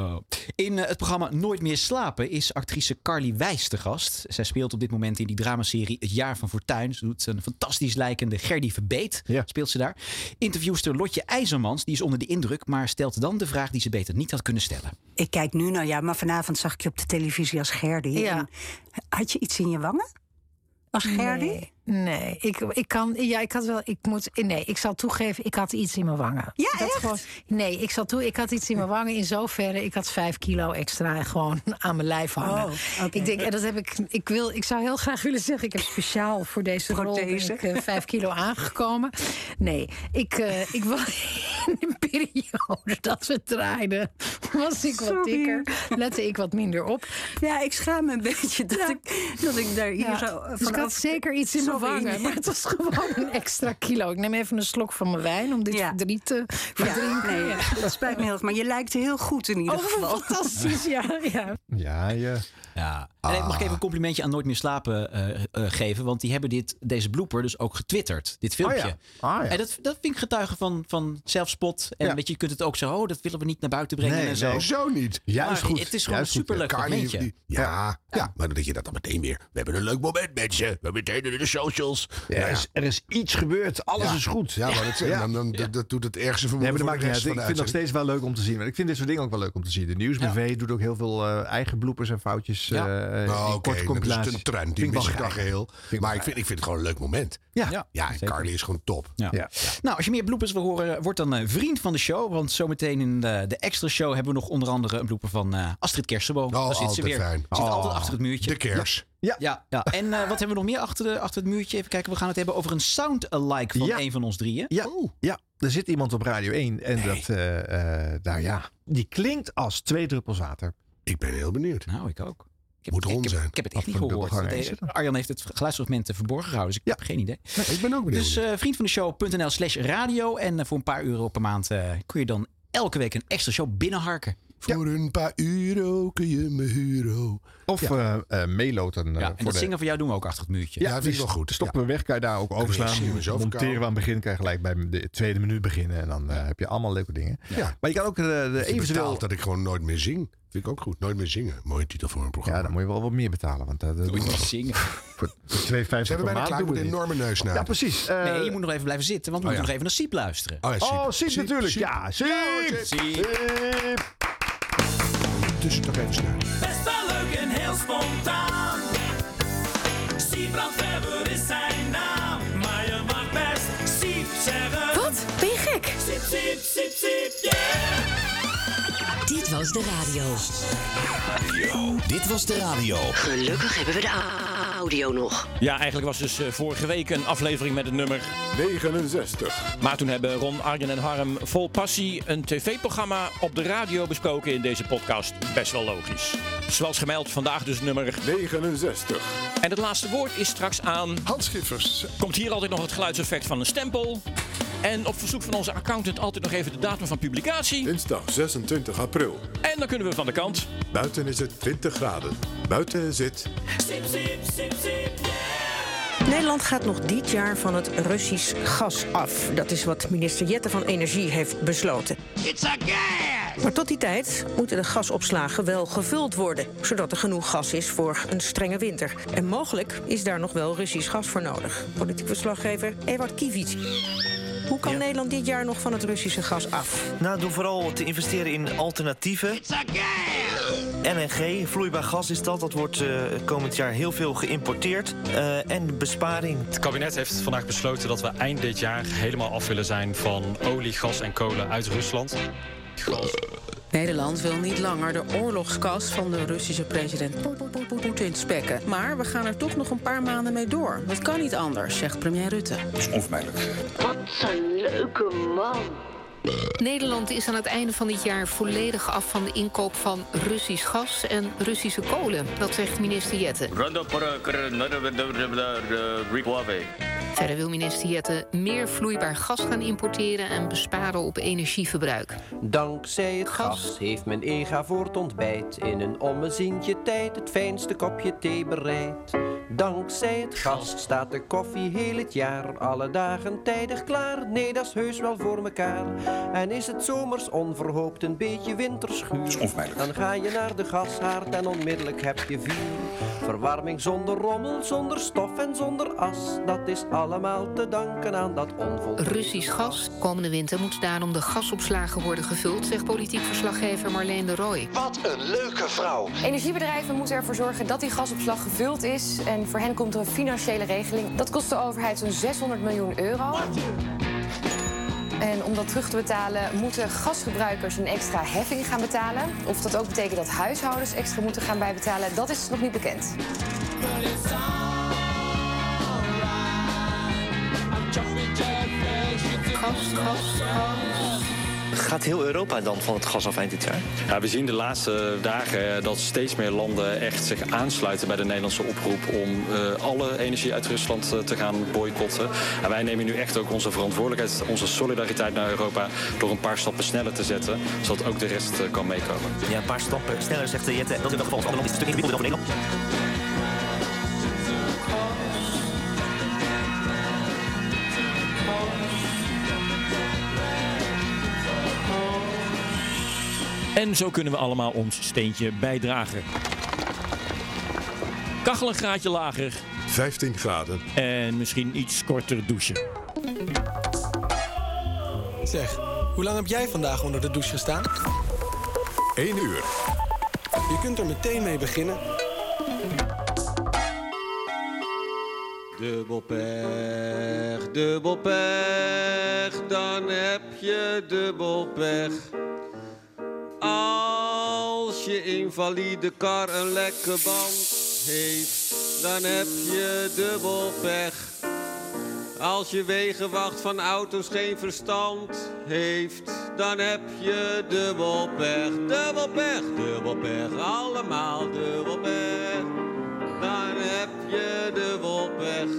S3: In eh, het programma Nooit meer slapen is actrice Carly Wijs te gast. Zij speelt op dit moment in die dramaserie Het jaar van Fortuin. Ze doet een fantastisch lijkende Gerdy Verbeet. Speelt ze daar. Interviewster Lotje IJzermans die is onder de indruk, maar stelt dan de vraag die ze beter niet had kunnen stellen.
S30: Ik kijk nu naar jou, maar vanavond zag ik je op de televisie als Gerdy. En had je iets in je wangen? Als Gerdy?
S31: Nee, nee. Ik, ik kan. Ja, ik had wel. Ik moet. Nee, ik zal toegeven, ik had iets in mijn wangen. Ja, dat Gewoon, nee, ik zal toe. Ik had iets in mijn wangen. In zoverre, ik had vijf kilo extra gewoon aan mijn lijf hangen.
S30: Oh, oké.
S31: Ik denk, en dat heb ik. Ik wil. Ik zou heel graag willen zeggen, ik heb speciaal voor deze rol ben
S30: Prothese.
S31: ik, eh, vijf kilo aangekomen. Nee, ik, eh ik was in de periode dat we draaiden, was ik wat
S30: Sorry.
S31: dikker. Lette ik wat minder op.
S30: Ja, ik schaam me een beetje dat, ik, dat ik daar hier
S31: Ja,
S30: zo eh, van
S31: dus ik had
S30: af-
S31: zeker iets in mijn
S30: Sorry.
S31: wangen. Maar het was gewoon een extra kilo. Ik neem even een slok van mijn wijn om dit verdriet te verdrinken.
S30: nee, dat spijt me heel erg. Maar je lijkt heel goed in ieder
S31: Oh,
S30: geval.
S31: fantastisch, ja. ja.
S2: Ja, ja.
S3: Ja. En ik mag
S1: Ah.
S3: ik even een complimentje aan Nooit meer slapen eh, eh, geven. Want die hebben dit, deze blooper dus ook getwitterd. Dit filmpje.
S2: Oh ja. Ah ja.
S3: En dat, dat vind ik getuige van, van zelfspot. En
S2: Ja.
S3: weet je, je kunt het ook zo, oh, dat willen we niet naar buiten brengen.
S1: Nee,
S3: en zo.
S1: nee, zo niet.
S3: Maar Het is gewoon
S1: Juist
S3: een
S1: goed.
S3: superleuk
S1: Carly heeft
S3: momentje.
S1: die- Ja, ja. maar dat je dat dan meteen weer. We hebben een leuk moment, mensen. We hebben meteen in de socials.
S2: Er is- er is iets gebeurd. Alles
S1: Ja.
S2: is goed.
S1: Ja, maar dat,
S2: Ja.
S1: Dan, dan, dat- dat doet het ergste voor
S2: Nee, maar
S1: voor
S2: dat maakt
S1: de
S2: niet
S1: rest
S2: uit. Ik
S1: van
S2: vind
S1: de
S2: het nog
S1: uitzending.
S2: steeds wel leuk om te zien. Maar ik vind dit soort dingen ook wel leuk om te zien. De Nieuwsbv doet ook heel veel eh, eigen bloepers en foutjes. eh
S1: Ja.
S2: in
S1: Nou, oké,
S2: korte
S1: dat
S2: compilaties.
S1: is een trend.
S2: Vind
S1: Die
S2: ik wel
S1: mis ik dan
S2: geinig.
S1: geheel. Maar ik vind, ik vind het gewoon een leuk moment.
S2: Ja,
S1: ja, en Carly is gewoon top.
S3: Ja. Nou, als je meer bloepers wil horen, word dan eh, vriend van de show. Want zometeen in de, de extra show hebben we nog onder andere een blooper van eh, Astrid Kersenboom. Oh,
S1: altijd fijn.
S3: Zit
S1: Oh,
S3: altijd achter het muurtje.
S1: de kers.
S2: Ja.
S3: ja. ja. En eh, wat hebben we nog meer achter, de, achter het muurtje? Even kijken, we gaan het hebben over een sound-alike van
S2: Ja.
S3: een van ons drieën.
S2: Ja,
S1: Oh.
S2: ja, er zit iemand op Radio 1 en dat, eh, eh, nou ja, die klinkt als twee druppels water.
S1: Ik ben heel benieuwd.
S3: Nou, ik ook. Ik heb,
S1: Moet
S3: ik,
S1: rond
S3: heb,
S1: zijn.
S3: ik heb het
S1: Wat
S3: echt niet
S1: voor een
S3: gehoord.
S1: dubbelganger
S3: Want,
S1: is
S3: eh, Arjan heeft het geluidsfragment eh, verborgen gehouden, dus ik heb geen idee.
S1: ik ben ook benieuwd.
S3: Dus eh vriend van de
S2: Nou,
S3: show.nl slash radio. En eh, voor een paar euro per maand eh, kun je dan elke week een extra show binnenharken.
S1: Voor een paar euro kun je me huren.
S2: Of eh, eh, meeloten. eh,
S1: en
S2: voor
S1: dat
S2: de-
S1: zingen
S3: van jou doen we ook achter het muurtje.
S2: Ja, die Stoppen we weg, kan je daar ook overslaan.
S1: zien we zo
S2: Monteren we
S1: verkouden.
S2: aan het begin, kan je gelijk bij de tweede minuut beginnen. En dan eh, heb je allemaal leuke dingen.
S1: Ja.
S2: Maar je kan ook eh, de eventueel...
S1: dat ik gewoon nooit meer zing. Vind ik ook goed. Nooit meer zingen. Mooie titel voor een programma.
S2: Ja, dan moet je wel wat meer betalen. Want eh, dat, dat doen we wel.
S3: zingen.
S2: Voor, voor 2,50 per maand
S1: Ze hebben bijna klaar
S2: doen
S1: met
S2: we
S1: een
S2: dit.
S1: enorme neus
S2: Ja, precies. Eh,
S3: nee, je moet nog even blijven zitten, want we
S2: oh
S3: moeten
S2: ja.
S3: nog even naar Siep luisteren.
S2: Oh, ja, Siep. Oh, Siep Siep, natuurlijk. Siep. Ja, Siep.
S3: Siep.
S1: Tussen toch even snel.
S12: Best wel leuk en heel spontaan. Siebrand Verber is zijn naam. Maar je mag best Siep zeggen.
S9: Wat? Ben je gek?
S12: Siep, Siep, Siep, Siep, yeah.
S4: Dit was de radio.
S6: Dit was de radio.
S4: Gelukkig hebben we de a- audio nog.
S15: Ja, eigenlijk was dus eh, vorige week een aflevering met het nummer 69. Maar toen hebben Ron, Arjen en Harm vol passie een tv-programma op de radio besproken in deze podcast. Best wel logisch. Zoals gemeld, vandaag dus nummer 69. En het laatste woord is straks aan... Hans Schiffers. Komt hier altijd nog het geluidseffect van een stempel. En op verzoek van onze accountant altijd nog even de datum van publicatie.
S19: Dinsdag 26 april.
S15: En dan kunnen we van de kant.
S19: Buiten is het 20 graden. Buiten zit
S12: Siep, Siep, Siep, Siep,
S20: Nederland gaat nog dit jaar van het Russisch gas af. Dat is wat minister Jette van Energie heeft besloten.
S12: It's a gas!
S20: Maar tot die tijd moeten de gasopslagen wel gevuld worden, zodat er genoeg gas is voor een strenge winter. En mogelijk is daar nog wel Russisch gas voor nodig. Politiek verslaggever Ewart Kiviet. Hoe kan Nederland dit jaar nog van het Russische gas af?
S11: Nou, door vooral te investeren in alternatieven. LNG, vloeibaar gas is dat. Dat wordt eh, komend jaar heel veel geïmporteerd. Eh, en besparing.
S22: Het kabinet heeft vandaag besloten dat we eind dit jaar helemaal af willen zijn van olie, gas en kolen uit Rusland.
S23: Nederland wil niet langer de oorlogskast van de Russische president Poe- Poe- Poe- Poe- Poetin spekken. Maar we gaan er toch nog een paar maanden mee door. Dat kan niet anders, zegt premier Rutte.
S24: Dat is onvermijdelijk.
S32: Wat een leuke man.
S33: Nederland is aan het einde van dit jaar volledig af van de inkoop van Russisch gas en Russische kolen. Dat zegt minister Jette. Verder wil minister Jette meer vloeibaar gas gaan importeren en besparen op energieverbruik.
S34: Dankzij het gas heeft mijn ega voor het ontbijt in een ommezientje tijd het fijnste kopje thee bereid. Dankzij het gas staat de koffie heel het jaar alle dagen tijdig klaar. Nee, dat is heus wel voor mekaar. En is het zomers onverhoopt een beetje winterschuur, dan ga je naar de gashaard en onmiddellijk heb je vuur. Verwarming zonder rommel, zonder stof en zonder as, dat is allemaal te danken aan dat onvoldoende.
S33: Russisch gas. Komende winter moet daarom de gasopslagen worden gevuld, zegt politiek verslaggever Marleen de Rooij.
S35: Wat een leuke vrouw.
S36: Energiebedrijven moeten ervoor zorgen dat die gasopslag gevuld is. En voor hen komt er een financiële regeling. Dat kost de overheid zo'n 600 miljoen euro. En om dat terug te betalen moeten gasgebruikers een extra heffing gaan betalen. Of dat ook betekent dat huishoudens extra moeten gaan bijbetalen, dat is nog niet bekend.
S33: Gas, gas, gas.
S11: Gaat heel Europa dan van het gas af eind dit jaar?
S22: Ja, we zien de laatste dagen dat steeds meer landen echt zich aansluiten bij de Nederlandse oproep om eh, alle energie uit Rusland eh, te gaan boycotten. En wij nemen nu echt ook onze verantwoordelijkheid, onze solidariteit naar Europa door een paar stappen sneller te zetten, zodat ook de rest eh, kan meekomen.
S11: Ja, een paar stappen sneller, zegt de Jette. Dat is in geval van een stuk ingewikkelder dan Nederland.
S15: En zo kunnen we allemaal ons steentje bijdragen. Kachel een graadje lager.
S19: 15 graden.
S15: En misschien iets korter douchen.
S37: Zeg, hoe lang heb jij vandaag onder de douche gestaan?
S19: 1 uur.
S37: Je kunt er meteen mee beginnen.
S35: Dubbelpech, dubbelpech, dan heb je dubbelpech. Als je invalide kar een lekke band heeft, dan heb je dubbelpech. Als je wegenwacht van auto's geen verstand heeft, dan heb je dubbelpech, dubbelpech, dubbelpech, allemaal dubbelpech. Dan heb je dubbelpech.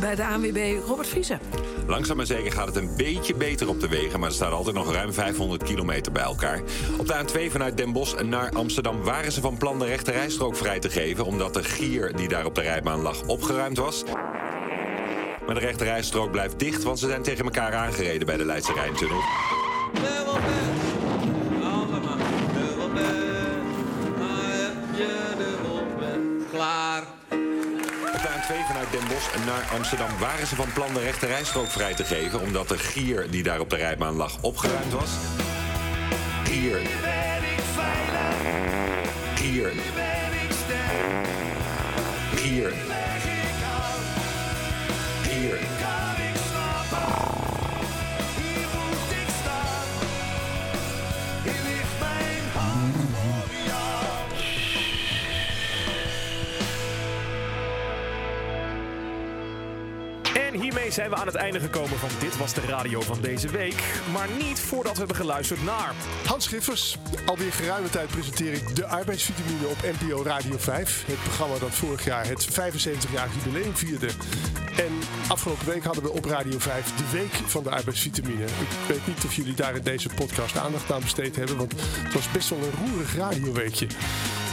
S34: Bij de ANWB Robert Vriezen.
S5: Langzaam maar zeker gaat het een beetje beter op de wegen, maar er staan altijd nog ruim 500 kilometer bij elkaar. Op de A2 vanuit Den Bosch naar Amsterdam waren ze van plan de rechte rijstrook vrij te geven, omdat de gier die daar op de rijbaan lag opgeruimd was. Maar de rechte rijstrook blijft dicht, want ze zijn tegen elkaar aangereden bij de Leidse Rijntunnel.
S35: Klaar.
S5: Op de A2 vanuit Den Bosch naar Amsterdam waren ze van plan de rechte rijstrook vrij te geven, omdat de gier die daar op de rijbaan lag opgeruimd was. Gier. Gier. Gier. Gier.
S7: En hiermee zijn we aan het einde gekomen van Dit Was de Radio van deze week. Maar niet voordat we hebben geluisterd naar...
S5: Hans Schiffers, alweer geruime tijd presenteer ik de arbeidsvitamine op NPO Radio 5. Het programma dat vorig jaar het 75-jarig jubileum vierde. En afgelopen week hadden we op Radio 5 de week van de arbeidsvitamine. Ik weet niet of jullie daar in deze podcast aandacht aan besteed hebben, want het was best wel een roerig radioweekje.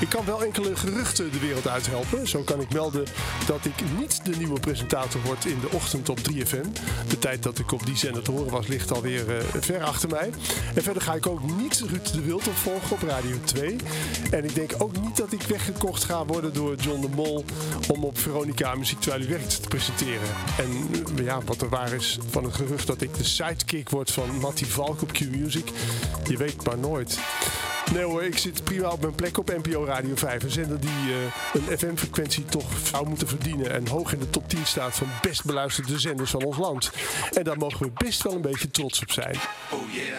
S5: Ik kan wel enkele geruchten de wereld uithelpen. Zo kan ik melden dat ik niet de nieuwe presentator word in de ochtend op 3FM. De tijd dat ik op die zender te horen was ligt alweer eh, ver achter mij. En verder ga ik ook niet Ruud de Wild opvolgen op Radio 2. En ik denk ook niet dat ik weggekocht ga worden door John de Mol... om op Veronica Muziek Terwijl U Werkt te presenteren. En eh, ja, wat er waar is van het gerucht dat ik de sidekick word van Matty Valk op Q-Music... je weet maar nooit. Nee hoor, ik zit prima op mijn plek op NPO Radio 5. Een zender die eh, een FM-frequentie toch zou moeten verdienen. En hoog in de top 10 staat van best beluisterde zenders van ons land. En daar mogen we best wel een beetje trots op zijn.
S12: Oh yeah.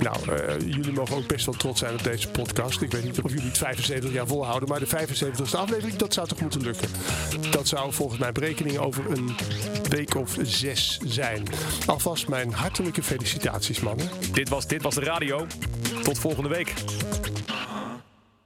S5: Nou, eh, jullie mogen ook best wel trots zijn op deze podcast. Ik weet niet of jullie het 75 jaar volhouden, maar de 75ste aflevering, dat zou toch moeten lukken? Dat zou volgens mijn berekening over een week of zes zijn. Alvast mijn hartelijke felicitaties, mannen.
S7: Dit was Dit Was de Radio. Tot volgende week.